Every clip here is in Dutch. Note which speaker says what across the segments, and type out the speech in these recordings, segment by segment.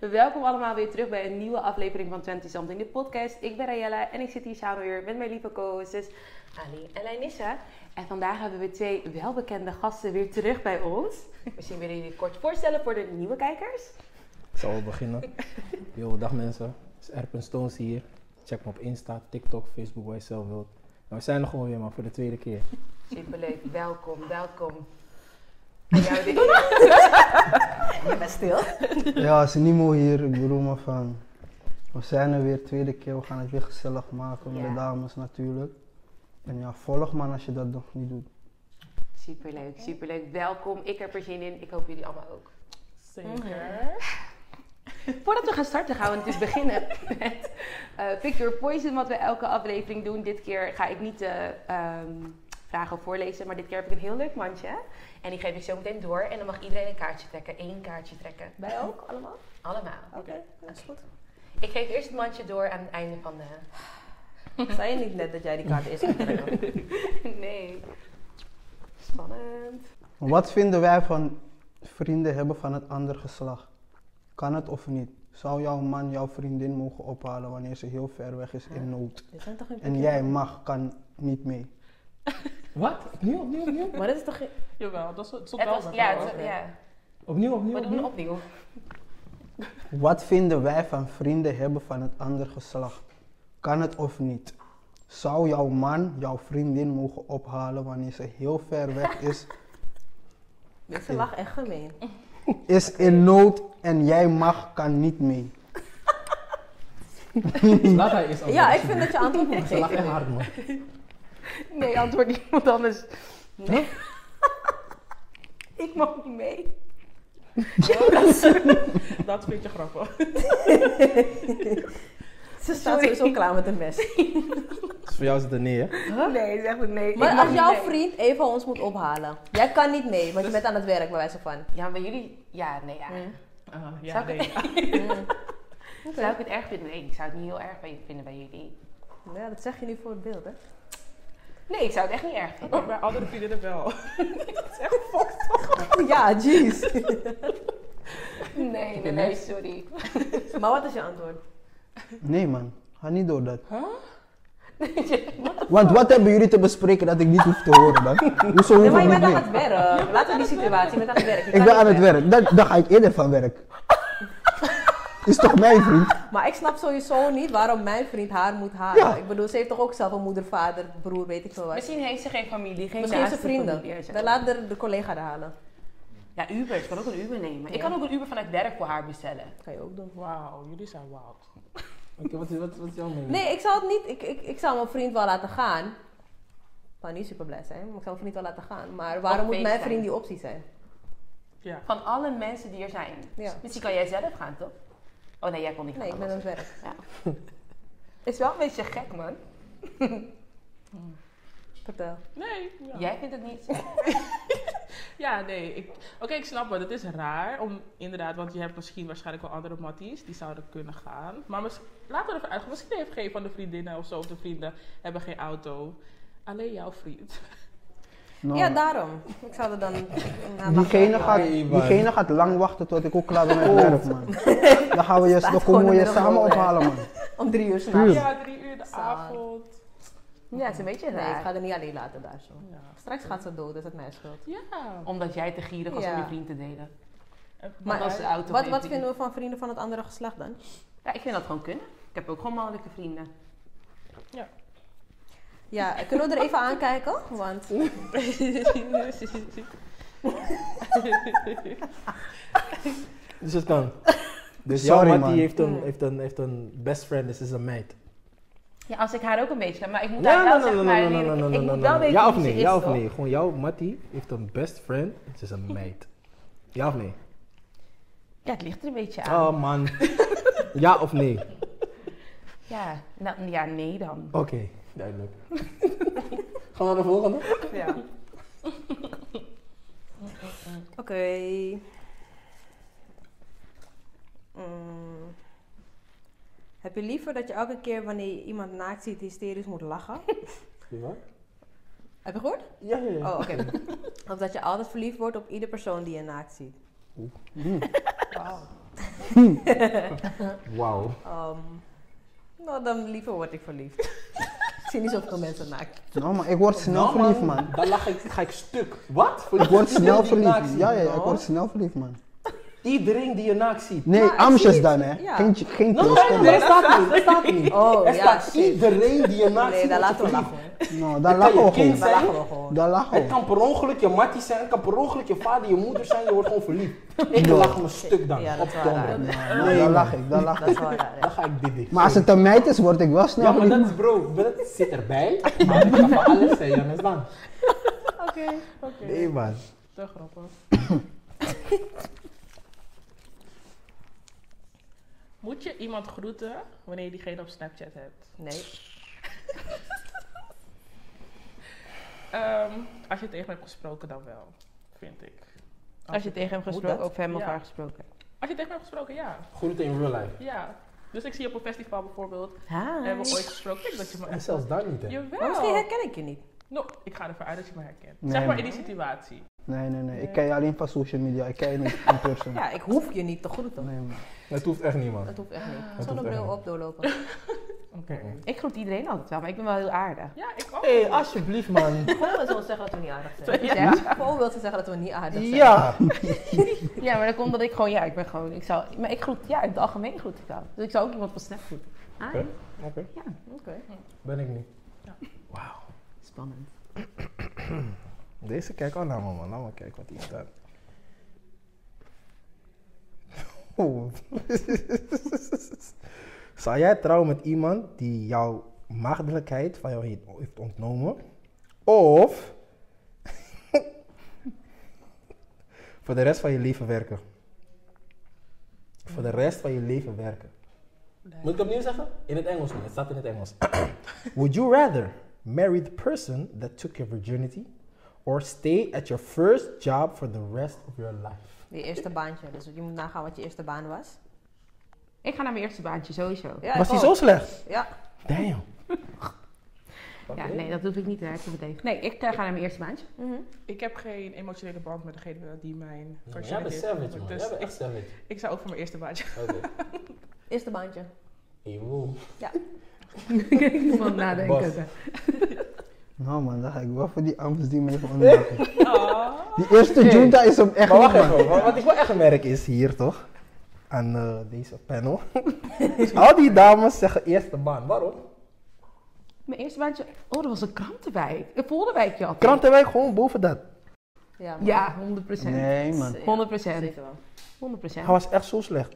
Speaker 1: Welkom allemaal weer terug bij een nieuwe aflevering van 20 Something, de podcast. Ik ben Rayella en ik zit hier samen weer met mijn lieve co-hosts Ali en Leinissa. En vandaag hebben we twee welbekende gasten weer terug bij ons. Misschien willen jullie kort voorstellen voor de nieuwe kijkers.
Speaker 2: Ik zal wel beginnen. Yo, dag mensen. Het is Erpen Stones hier. Check me op Insta, TikTok, Facebook, waar je zelf wilt. Nou, we zijn er gewoon weer, man, voor de tweede keer.
Speaker 3: Superleuk, welkom, welkom. Aan jou de Je bent stil.
Speaker 4: Ja, het is Nimo hier. Ik bedoel me van. We zijn er weer, tweede keer. We gaan het weer gezellig maken met
Speaker 3: Ja.
Speaker 4: de dames natuurlijk. En ja, volg maar als je dat nog niet doet.
Speaker 1: Superleuk, superleuk. Welkom. Ik heb er zin in. Ik hoop jullie allemaal ook. Voordat we gaan starten gaan we natuurlijk beginnen met eh Pick Your Poison, wat we elke aflevering doen. Dit keer ga ik niet de ehm, vragen voorlezen, maar dit keer heb ik een heel leuk mandje. En die geef ik zo meteen door en dan mag iedereen een kaartje trekken. Eén kaartje trekken.
Speaker 3: Wij ook, allemaal?
Speaker 1: Allemaal.
Speaker 3: Oké, dat is goed.
Speaker 1: Ik geef eerst het mandje door aan het einde van de...
Speaker 3: Zei je niet net dat jij die kaart eerst gaat trekken?
Speaker 1: nee. Spannend.
Speaker 4: Wat vinden wij van vrienden hebben van het andere geslacht? Kan het of niet? Zou jouw man jouw vriendin mogen ophalen wanneer ze heel ver weg is in nood?
Speaker 3: Dit zijn toch geen
Speaker 4: En jij mag, kan niet mee.
Speaker 2: Wat? Opnieuw, opnieuw, opnieuw?
Speaker 3: Maar dit is toch geen...
Speaker 5: Jawel, dat stond
Speaker 1: Het
Speaker 5: wel
Speaker 1: was,
Speaker 5: met
Speaker 1: ja,
Speaker 5: haar
Speaker 1: het,
Speaker 5: hoor.
Speaker 1: was- ja,
Speaker 2: Opnieuw, opnieuw,
Speaker 1: we doen het
Speaker 2: opnieuw?
Speaker 1: opnieuw.
Speaker 4: Wat vinden wij van vrienden hebben van het andere geslacht? Kan het of niet? Zou jouw man jouw vriendin mogen ophalen wanneer ze heel ver weg is,
Speaker 3: Dus Ze lachen echt gemeen.
Speaker 4: is in nood en jij mag, kan niet mee?
Speaker 2: Laat hij eens
Speaker 3: Ja, ik vind dat je antwoord moet
Speaker 2: Ze lacht echt
Speaker 3: geven.
Speaker 2: hard, man.
Speaker 1: Nee, antwoord iemand anders. Nee. ik mag niet mee.
Speaker 5: Dat vind je grappig.
Speaker 3: Ze staat sowieso klaar met een mes.
Speaker 2: Dus voor jou is het een nee, hè?
Speaker 1: Nee, zeg maar nee. Ik
Speaker 3: Maar
Speaker 1: mag
Speaker 3: als
Speaker 1: niet
Speaker 3: jouw
Speaker 1: mee.
Speaker 3: vriend even ons moet ophalen. Jij kan niet mee,
Speaker 5: Dus-
Speaker 3: want je bent aan het werk bij wijze van.
Speaker 1: Ja, maar jullie... Ja, nee, ja.
Speaker 3: Hmm.
Speaker 5: Ah, ja,
Speaker 1: Zou ik
Speaker 5: nee.
Speaker 1: Zou ik het erg vinden? Nee, ik zou het niet heel erg bij- vinden bij jullie.
Speaker 3: Ja, dat zeg je nu voor het beeld, hè?
Speaker 1: Nee, ik zou het echt niet erg vinden.
Speaker 5: Maar bij andere vriendinnen wel.
Speaker 3: Ja, jeez.
Speaker 1: Nee, nee, nee, sorry.
Speaker 3: Maar wat is je antwoord?
Speaker 4: Nee man, ga niet door dat. Want wat hebben jullie te bespreken dat ik niet hoef te horen dan? Hoezo
Speaker 3: Nee,
Speaker 4: hoef
Speaker 3: maar
Speaker 4: ik
Speaker 3: je
Speaker 4: niet
Speaker 3: bent aan
Speaker 4: mee?
Speaker 3: het werk. Laten we die situatie, je bent aan het werk. Je
Speaker 4: Ik
Speaker 3: kan
Speaker 4: ben aan
Speaker 3: niet
Speaker 4: het
Speaker 3: weg.
Speaker 4: werk, dan, dan ga ik eerder van werk. Is toch mijn vriend?
Speaker 3: Maar ik snap sowieso niet waarom mijn vriend haar moet halen.
Speaker 4: Ja.
Speaker 3: Ik bedoel, ze heeft toch ook zelf een moeder, vader, broer, weet ik veel wat.
Speaker 1: Misschien heeft ze geen familie, geen
Speaker 3: Misschien zijn
Speaker 1: naaste familie,
Speaker 3: vrienden.
Speaker 1: zeg
Speaker 3: Dan
Speaker 1: maar.
Speaker 3: laat er de collega haar halen.
Speaker 1: Ja, Uber. Ik kan ook een Uber nemen. Ik
Speaker 3: Ja.
Speaker 1: kan ook een Uber vanuit werk voor haar bestellen.
Speaker 3: Kan je ook doen.
Speaker 5: Wauw, jullie zijn wild.
Speaker 2: Oké, wat, is- wat, wat is jouw mening?
Speaker 3: Nee, ik zou het niet. Ik, ik, ik zou mijn vriend wel laten gaan. Ik zou niet super blij zijn, maar ik zou mijn vriend wel laten gaan. Maar waarom moet mijn
Speaker 1: FaceTime.
Speaker 3: vriend die optie zijn?
Speaker 5: Ja.
Speaker 1: Van alle mensen die er zijn.
Speaker 3: Ja.
Speaker 1: Misschien kan jij zelf gaan, toch? Oh nee, jij kon niet gaan.
Speaker 3: Nee, ik ben aan het
Speaker 1: anders.
Speaker 3: werk.
Speaker 1: Is wel een beetje gek, man.
Speaker 3: Vertel.
Speaker 5: Nee. Ja,
Speaker 1: Jij vindt het niet.
Speaker 5: Ja, nee. ik- Oké, ik snap het. Het is raar om inderdaad, want je hebt misschien waarschijnlijk wel andere matties die zouden kunnen gaan. Maar mis- laten we ervan uitgaan. Misschien heeft geen van de vriendinnen of zo of de vrienden hebben geen auto. Alleen jouw vriend.
Speaker 4: Nou,
Speaker 3: Ja, daarom. Ik zou er dan. Nou, wacht.
Speaker 4: diegene, gaat,
Speaker 2: Nee, man.
Speaker 4: diegene gaat lang wachten tot ik ook klaar ben met werk man. Dan gaan we je, dan
Speaker 3: gewoon
Speaker 4: komen we
Speaker 3: in
Speaker 4: je
Speaker 3: de
Speaker 4: samen
Speaker 3: middelbouw, hè?
Speaker 4: ophalen man.
Speaker 3: Om drie uur s'nachts.
Speaker 4: Puur.
Speaker 5: Ja, drie uur de
Speaker 3: Saai.
Speaker 5: avond.
Speaker 1: Ja, het is een beetje
Speaker 3: Nee,
Speaker 1: raar.
Speaker 3: ik ga er niet alleen laten daar zo.
Speaker 5: Ja.
Speaker 3: Straks gaat ze dood, dat is het mijn schuld.
Speaker 5: Ja.
Speaker 1: Omdat jij te gierig was
Speaker 3: Ja.
Speaker 1: om je vriend te delen.
Speaker 3: Maar
Speaker 1: als de auto
Speaker 3: wat,
Speaker 1: geen
Speaker 3: wat
Speaker 1: vriend-
Speaker 3: vinden we van vrienden van het andere geslacht dan?
Speaker 1: Ja, ik vind dat gewoon kunnen. Ik heb ook gewoon mannelijke vrienden.
Speaker 3: Ja, kunnen we er even aankijken? Want
Speaker 2: Dus het kan. Dus
Speaker 4: Sorry,
Speaker 2: jouw
Speaker 4: man.
Speaker 2: mattie heeft een, heeft, een, heeft een best friend, dus is een meid.
Speaker 1: Ja, als ik haar ook een beetje ken, maar ik moet haar
Speaker 2: Nee,
Speaker 1: wel
Speaker 2: nee, nee,
Speaker 1: zeg
Speaker 2: nee,
Speaker 1: maar
Speaker 2: nee,
Speaker 1: leren-
Speaker 2: nee,
Speaker 1: ik- Ik
Speaker 2: nee, nee,
Speaker 1: moet
Speaker 2: nee,
Speaker 1: wel
Speaker 2: nee.
Speaker 1: weten
Speaker 2: Ja of
Speaker 1: wie ze
Speaker 2: nee,
Speaker 1: is,
Speaker 2: ja of
Speaker 1: toch?
Speaker 2: nee. Gewoon jouw mattie heeft een best friend, ze is een meid. Ja of nee?
Speaker 1: Ja, het ligt er een beetje aan.
Speaker 2: Oh man. Ja of nee?
Speaker 1: Ja, nou, ja, nee dan.
Speaker 2: Oké, duidelijk. Gaan we naar de volgende?
Speaker 5: Ja.
Speaker 3: Oké. Mm. Heb je liever dat je elke keer wanneer je iemand naakt ziet hysterisch moet lachen? Heb je gehoord?
Speaker 2: Ja, ja, ja.
Speaker 3: Oh, oké. of dat je altijd verliefd wordt op iedere persoon die je naakt ziet.
Speaker 5: Wauw.
Speaker 2: Wauw.
Speaker 3: Ehm, nou, dan liever word ik verliefd. ik zie niet zoveel mensen naakt.
Speaker 4: Nou, maar ik word snel
Speaker 2: Nou,
Speaker 4: verliefd, man.
Speaker 2: Dan lach ik, ga ik stuk. Wat? Voor
Speaker 4: Ik word snel
Speaker 2: iedereen die je naakt
Speaker 4: verliefd.
Speaker 2: ziet,
Speaker 4: Ja, ja, ja, ik
Speaker 2: man.
Speaker 4: word snel verliefd, man.
Speaker 2: Iedereen die je naakt ziet.
Speaker 4: Nee,
Speaker 3: Maar Nou, ik
Speaker 4: amsjes
Speaker 3: zie
Speaker 4: dan,
Speaker 3: het,
Speaker 4: hè.
Speaker 3: ja. Nou,
Speaker 4: Geen, geen
Speaker 2: Nee,
Speaker 4: trost,
Speaker 2: nee,
Speaker 4: man.
Speaker 2: nee, dat staat niet. Dat staat niet.
Speaker 3: Oh,
Speaker 2: er
Speaker 3: ja,
Speaker 2: staat
Speaker 3: shit.
Speaker 2: iedereen die je naakt
Speaker 3: Nee,
Speaker 2: ziet.
Speaker 3: daar
Speaker 2: wordt
Speaker 3: laten we lachen. hoor.
Speaker 2: verliefd.
Speaker 4: Nou, daar
Speaker 2: Het kan
Speaker 4: lachen we
Speaker 2: je kind
Speaker 4: gewoon.
Speaker 3: Daar
Speaker 2: zijn.
Speaker 3: lachen we gewoon.
Speaker 4: Daar lachen
Speaker 2: Het
Speaker 4: we.
Speaker 2: kan per ongeluk je mattie zijn, het kan per ongeluk je vader, je moeder zijn, je wordt gewoon verliefd. Ik lach me stuk dan.
Speaker 3: Ja, dat
Speaker 2: op
Speaker 3: is
Speaker 2: de
Speaker 3: wel
Speaker 2: andere.
Speaker 3: raar.
Speaker 4: Nou, nou, daar lach ik, daar lach
Speaker 3: Dat is
Speaker 4: ik.
Speaker 3: wel raar. ja.
Speaker 2: Dan ga ik dit doen.
Speaker 4: Maar als het een meid is, word ik wel
Speaker 2: Ja,
Speaker 4: snel
Speaker 2: maar
Speaker 4: verliefd.
Speaker 2: dat is bro, dat zit erbij. Maar ik kan van alles zijn, Jannes dan.
Speaker 5: Oké, oké.
Speaker 4: Nee, man.
Speaker 5: Te grappig. Moet je iemand groeten wanneer je diegene op Snapchat hebt?
Speaker 3: Nee.
Speaker 5: Ehm, als je tegen hem hebt gesproken, dan wel, vind ik.
Speaker 1: Als je tegen hem
Speaker 3: Moet
Speaker 1: gesproken,
Speaker 3: dat?
Speaker 1: of hem of
Speaker 5: Ja.
Speaker 1: haar gesproken.
Speaker 5: Als je tegen hem hebt gesproken, ja.
Speaker 2: Groeten in real life.
Speaker 5: Ja. Dus ik zie je op een festival bijvoorbeeld. En we
Speaker 3: Hi.
Speaker 1: Ah.
Speaker 5: hebben ooit gesproken. Kijk dat je me
Speaker 2: En zelfs daar niet, hè.
Speaker 5: Jawel.
Speaker 3: Maar misschien herken ik je niet.
Speaker 5: No, ik ga ervan uit dat je me herkent.
Speaker 4: Nee,
Speaker 5: zeg maar in
Speaker 4: man.
Speaker 5: die situatie.
Speaker 4: Nee, nee, nee. Ik ken je alleen van social media. Ik ken je niet in person.
Speaker 3: Ja, ik hoef je niet te groeten.
Speaker 4: Nee, man.
Speaker 2: Dat hoeft echt niet, man.
Speaker 3: Dat hoeft echt niet.
Speaker 2: hoeft echt
Speaker 3: Zonnebril
Speaker 2: niet.
Speaker 3: op, doorlopen.
Speaker 5: Oké.
Speaker 1: Ik groet iedereen altijd wel, maar ik ben wel heel aardig.
Speaker 5: Ja, ik ook.
Speaker 2: Hé, hey, alsjeblieft, man.
Speaker 3: Gewoon wil ze ons zeggen dat we niet aardig zijn.
Speaker 1: Ja.
Speaker 3: Gewoon wil ze zeggen dat we niet aardig zijn.
Speaker 2: Ja.
Speaker 1: ja, maar dat komt omdat ik gewoon, ja, ik ben gewoon, ik zou, maar ik groet, ja, in het algemeen groet ik dan. Dus ik zou ook iemand van Snap groeten. Ah,
Speaker 2: Oké. Oké.
Speaker 1: ja, oké.
Speaker 2: Ben ik niet.
Speaker 1: Spannend.
Speaker 2: Deze kijk al naar me, man. Laat maar kijken wat hier staat. Oh. Zou jij trouwen met iemand die jouw maagdelijkheid van jou heeft- heeft ontnomen? Of voor de rest van je leven werken? Voor de rest van je leven werken. Moet ik opnieuw zeggen? In het Engels nu, het staat in het Engels. Would you rather marry the person that took your virginity or stay at your first job for the rest of your life?
Speaker 3: Je eerste baantje. Dus je moet nagaan wat je eerste baan was.
Speaker 1: Ik ga naar mijn eerste baantje, sowieso.
Speaker 3: Ja,
Speaker 2: Was
Speaker 3: ik
Speaker 2: die zo
Speaker 3: ook.
Speaker 2: slecht?
Speaker 3: Ja.
Speaker 2: Damn.
Speaker 1: Ja, nee, dat hoef ik niet te herken meteen. Nee, ik eh, ga naar mijn eerste baantje.
Speaker 5: Ik heb geen emotionele band met degene die mijn
Speaker 2: Jij bent
Speaker 5: personality
Speaker 2: savage, man.
Speaker 5: Dus
Speaker 2: Jij bent
Speaker 5: ik,
Speaker 2: echt savage.
Speaker 5: ik zou ook voor mijn eerste baantje.
Speaker 2: Oké.
Speaker 3: Eerste baantje.
Speaker 2: Eeuw.
Speaker 1: ik moet nadenken.
Speaker 2: Bas.
Speaker 4: Nou, man, daar ga ik wel voor die amps die me even ondermaken.
Speaker 5: Oh.
Speaker 4: Die eerste
Speaker 2: Oké.
Speaker 4: junta is hem echt
Speaker 2: Maar wacht
Speaker 4: niet, man.
Speaker 2: even, wa- wat ik wel echt merk is hier toch, aan eh, deze panel. Al die dames zeggen eerste baan. Waarom?
Speaker 1: Mijn eerste baantje, oh, dat was een krantenwijk. Een polderwijkje altijd.
Speaker 2: Krantenwijk gewoon boven dat.
Speaker 3: Ja, maar-
Speaker 1: Ja, 100 procent.
Speaker 4: Nee, man.
Speaker 1: 100 procent.
Speaker 3: Zeker wel.
Speaker 1: 100 procent.
Speaker 2: Hij was echt zo slecht.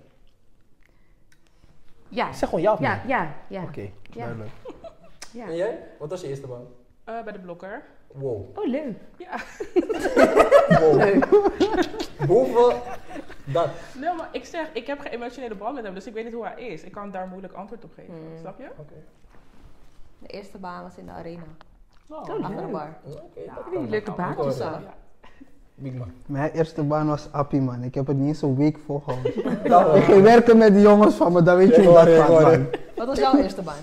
Speaker 1: Ja,
Speaker 2: Zeg gewoon ja of nee.
Speaker 1: ja, ja, ja.
Speaker 2: Oké, duidelijk.
Speaker 1: Ja.
Speaker 2: En jij? Wat was je eerste baan?
Speaker 5: Eh, bij de blokker.
Speaker 2: Wow.
Speaker 1: Oh, leuk.
Speaker 2: Wow. Boven dat.
Speaker 5: Nee, maar ik zeg, ik heb geen emotionele band met hem, dus ik weet niet hoe hij is. Ik kan daar moeilijk antwoord op geven.
Speaker 1: Hmm.
Speaker 3: Mm.
Speaker 5: Snap je?
Speaker 3: De eerste baan was in de arena.
Speaker 5: Oh.
Speaker 1: leuk.
Speaker 3: Achter de bar.
Speaker 1: Een leuke
Speaker 2: Nou,
Speaker 1: baantjes.
Speaker 3: Zo.
Speaker 5: Ja.
Speaker 2: Big man.
Speaker 4: Mijn eerste baan was Appie, man. Ik heb het niet eens een week volgehouden.
Speaker 2: Nou,
Speaker 4: Ik ging werken met die jongens van me, dan weet je hoe dat
Speaker 2: Ik hoor,
Speaker 4: gaat,
Speaker 2: ik hoor.
Speaker 4: man.
Speaker 3: Wat was jouw eerste baan?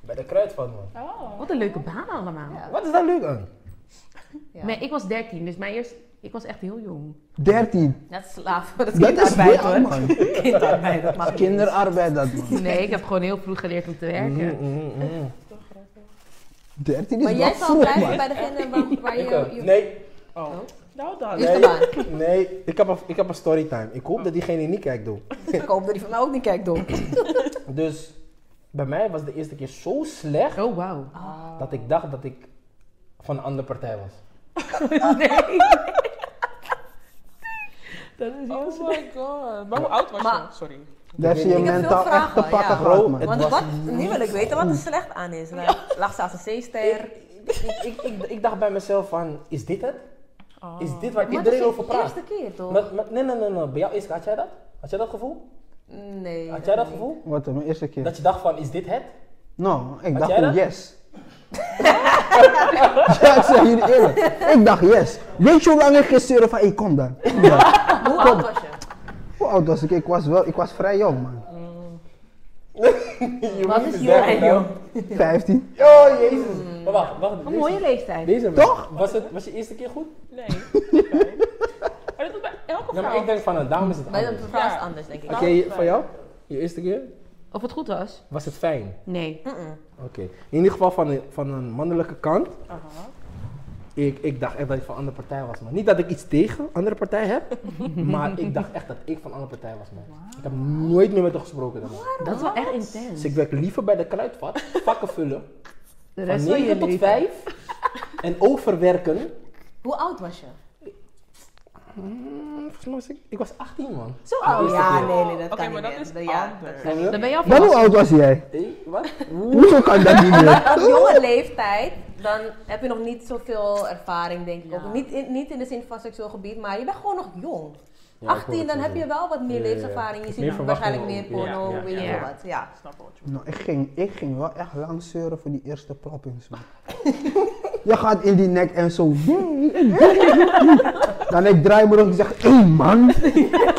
Speaker 2: Bij de kruidvat, man.
Speaker 5: Oh.
Speaker 1: Wat een leuke baan allemaal.
Speaker 3: Ja.
Speaker 2: Wat is daar leuk aan?
Speaker 3: Ja.
Speaker 1: Maar ik was 13, dus mijn eerste, ik was echt heel jong.
Speaker 4: 13.
Speaker 3: Dat is slaaf. Dat is
Speaker 4: Dat is
Speaker 3: kinderarbeid
Speaker 4: ja,
Speaker 3: hoor.
Speaker 4: man.
Speaker 3: Kinderarbeid, dat mag niet.
Speaker 4: Kinderarbeid, dat, man.
Speaker 1: Nee, ik heb gewoon heel vroeg geleerd om te
Speaker 2: Mm.
Speaker 1: werken.
Speaker 2: Mm-hmm,
Speaker 4: Dertien is
Speaker 3: Maar jij
Speaker 4: wel
Speaker 3: zal
Speaker 4: vroeg,
Speaker 3: blijven
Speaker 4: man.
Speaker 3: bij degene waar, waar je... je-
Speaker 2: eh, Nee,
Speaker 5: Oh. Nou dan.
Speaker 3: Eerste baan.
Speaker 2: nee. Ik heb een, ik heb een storytime. Ik hoop dat diegene niet kijkt, doe.
Speaker 3: Ik hoop dat die van mij ook niet kijkt, dom.
Speaker 2: Dus bij mij was de eerste keer zo slecht
Speaker 1: Oh, wauw.
Speaker 3: Ah,
Speaker 2: dat ik dacht dat ik van een andere partij was.
Speaker 1: Nee.
Speaker 5: Dat is oh my god. Maar hoe oud was
Speaker 3: Maar-
Speaker 5: je? Sorry.
Speaker 4: Daar zie je
Speaker 3: Ik heb veel
Speaker 4: mentaal echt te
Speaker 3: vragen,
Speaker 4: pakken
Speaker 3: ja.
Speaker 4: gehad,
Speaker 2: Het
Speaker 4: man.
Speaker 3: Want
Speaker 2: was
Speaker 3: wat, nu wil ik weten wat er slecht aan is. Lag- Lag ze als een zeester?
Speaker 2: Ik, ik, ik, ik dacht bij mezelf van, is dit het? Is dit waar
Speaker 3: Oh. Maar dat is
Speaker 2: iedereen
Speaker 3: je
Speaker 2: over praat?
Speaker 3: eerste keer toch?
Speaker 2: Maar- maar- nee, nee, nee, nee. Bij jou is, had jij dat? Had jij dat gevoel?
Speaker 3: Nee.
Speaker 2: Had jij dat
Speaker 3: niet.
Speaker 2: gevoel?
Speaker 4: Wat, mijn eerste keer?
Speaker 2: Dat je dacht van, is dit het?
Speaker 4: Nou, ik
Speaker 2: Had
Speaker 4: dacht
Speaker 2: jij dat?
Speaker 4: yes. ja, ik zeg jullie eerlijk. Ik dacht yes. Weet je hoe lang ik gisteren van, ik kom dan. Ja.
Speaker 3: Hoe oud was je?
Speaker 4: Hoe oud was ik? Ik was, wel, ik was vrij jong, man.
Speaker 2: Je
Speaker 3: Wat
Speaker 2: moet
Speaker 3: is
Speaker 2: eens
Speaker 3: hier
Speaker 2: zeggen,
Speaker 3: aan, joh?
Speaker 2: nou.
Speaker 4: 15.
Speaker 2: Oh, jezus. Maar wacht, wacht.
Speaker 1: Een mooie leeftijd.
Speaker 2: Deze Toch? Was, het, was je eerste keer goed?
Speaker 5: Nee. Oké. Maar dat was bij
Speaker 2: Ja,
Speaker 5: elke elke vrouw.
Speaker 2: maar Nou, ik denk van een dame is het
Speaker 3: Bij
Speaker 2: anders.
Speaker 3: een
Speaker 2: Oké,
Speaker 3: vrouw is het
Speaker 5: Ja.
Speaker 3: anders, denk ik.
Speaker 5: Ja.
Speaker 2: van jou? Je eerste keer?
Speaker 3: Of het goed was?
Speaker 2: Was het fijn?
Speaker 1: Nee.
Speaker 3: Mm-mm.
Speaker 2: Oké. In ieder geval van een, van een mannelijke kant.
Speaker 5: Aha.
Speaker 2: Ik, ik dacht echt dat ik van andere partij was, man. Niet dat ik iets tegen andere partij heb, maar ik dacht echt dat ik van andere partij was, man. Ik heb nooit meer met haar gesproken, dan, man.
Speaker 1: Dat is wel echt intens.
Speaker 2: Dus ik werk liever bij de kruidvat, vakken vullen,
Speaker 1: De
Speaker 2: van
Speaker 1: rest van je
Speaker 2: 9 tot
Speaker 1: leven.
Speaker 2: 5 en overwerken.
Speaker 3: Hoe oud was je?
Speaker 2: Mm, volgens mij was ik, ik was 18, man.
Speaker 3: Zo oud?
Speaker 2: eerste
Speaker 3: ja,
Speaker 2: keer.
Speaker 3: nee, nee, dat
Speaker 5: Nou, Oké,
Speaker 3: kan niet
Speaker 5: maar dat
Speaker 3: meer.
Speaker 5: is
Speaker 3: ja, dat
Speaker 5: anders.
Speaker 3: kan niet.
Speaker 1: Dan
Speaker 2: Snap je?
Speaker 1: ben je al
Speaker 4: Dan hoe
Speaker 1: volwassen.
Speaker 4: oud was jij?
Speaker 2: Hé, wat?
Speaker 4: Hoezo kan dat niet meer?
Speaker 3: Op jonge leeftijd, dan heb je nog niet zoveel ervaring, denk ik ook. Niet in, niet in de zin van seksueel gebied, maar je bent gewoon nog jong.
Speaker 2: Ja, ik hoor
Speaker 3: 18,
Speaker 2: het
Speaker 3: dan
Speaker 2: zo
Speaker 3: heb je
Speaker 2: zeggen.
Speaker 3: wel wat meer
Speaker 2: Ja, ja, ja.
Speaker 3: levenservaring. Je
Speaker 2: Meer
Speaker 3: ziet waarschijnlijk
Speaker 2: verwachtingen
Speaker 3: meer
Speaker 2: ook, ja.
Speaker 3: porno,
Speaker 5: Ja, ja,
Speaker 3: weet je
Speaker 1: ja.
Speaker 3: wat. Ja.
Speaker 5: Ik snap wat je
Speaker 4: Nou, ik ging, ik ging wel echt lang zeuren voor die eerste proppings, man. Je gaat in die nek en zo. Dan ik draai me rond en zeg, hé man,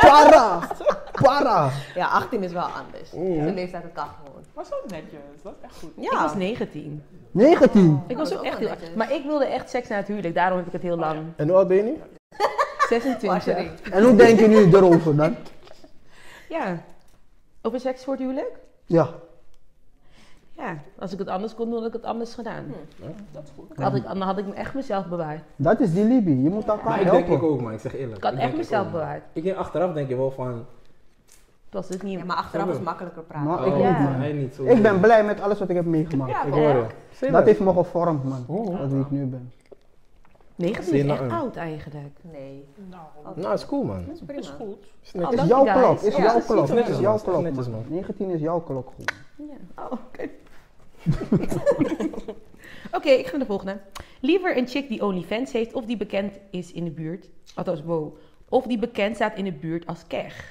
Speaker 4: para, para.
Speaker 3: ja, 18 is wel anders. De leeftijd, dat kan gewoon.
Speaker 5: Maar zo netjes, dat is echt goed.
Speaker 3: Ja.
Speaker 1: Ik was 19.
Speaker 4: 19.
Speaker 1: Ik
Speaker 3: Ah.
Speaker 1: was
Speaker 3: dat
Speaker 1: ook
Speaker 3: is
Speaker 1: echt
Speaker 3: wel
Speaker 1: heel
Speaker 3: netjes.
Speaker 1: Maar ik wilde echt seks na het huwelijk, daarom heb ik het heel lang.
Speaker 2: En hoe oud ben je nu?
Speaker 1: 26.
Speaker 4: En hoe denk je nu erover dan?
Speaker 1: Ja. Over seks voor het huwelijk?
Speaker 4: Ja,
Speaker 1: Ja. Als ik het anders kon doen, had ik het anders gedaan.
Speaker 5: Dat is goed.
Speaker 1: Had ik, dan had ik me echt mezelf bewaard.
Speaker 4: dat is die Libi. Je moet elkaar
Speaker 2: Maar ik denk
Speaker 4: helpen.
Speaker 2: ik ook, man. Ik zeg eerlijk.
Speaker 1: Ik had echt
Speaker 2: denk
Speaker 1: mezelf
Speaker 2: ook, man.
Speaker 1: bewaard.
Speaker 2: Ik denk achteraf denk je wel van...
Speaker 1: Het was het niet.
Speaker 3: Ja, maar achteraf is
Speaker 2: Zo.
Speaker 3: makkelijker praten.
Speaker 4: Maar
Speaker 2: Oh,
Speaker 4: ik,
Speaker 1: Ja.
Speaker 4: niet, man.
Speaker 2: hij niet. Zo
Speaker 4: ik ben blij met alles wat ik heb meegemaakt.
Speaker 3: Ja,
Speaker 2: Ik hoor
Speaker 3: ook.
Speaker 2: je. Zie je
Speaker 4: dat heeft me gevormd, man.
Speaker 2: Oh.
Speaker 4: Dat wie ik nu ben.
Speaker 1: 19
Speaker 2: Zeer
Speaker 1: is echt
Speaker 2: lang.
Speaker 1: oud eigenlijk.
Speaker 3: Nee,
Speaker 5: Nou,
Speaker 3: dat
Speaker 2: Nou, is cool, man.
Speaker 3: is prima.
Speaker 5: dat is goed.
Speaker 2: Is net-
Speaker 1: Oh, dank
Speaker 4: Het is
Speaker 1: je,
Speaker 4: jouw
Speaker 1: guys.
Speaker 4: klok, is
Speaker 3: Ja,
Speaker 4: jouw
Speaker 3: dat is
Speaker 4: klok,
Speaker 2: netjes,
Speaker 4: man. Is
Speaker 2: man.
Speaker 4: jouw
Speaker 2: Dat is
Speaker 4: klok,
Speaker 2: netjes,
Speaker 4: man.
Speaker 2: man.
Speaker 4: 19 is jouw klok gewoon.
Speaker 1: Ja. Oh, oké. oké, ik ga naar de volgende. Liever een chick die OnlyFans heeft of die bekend is in de buurt. Althans, wow. Of die bekend staat in de buurt als keg.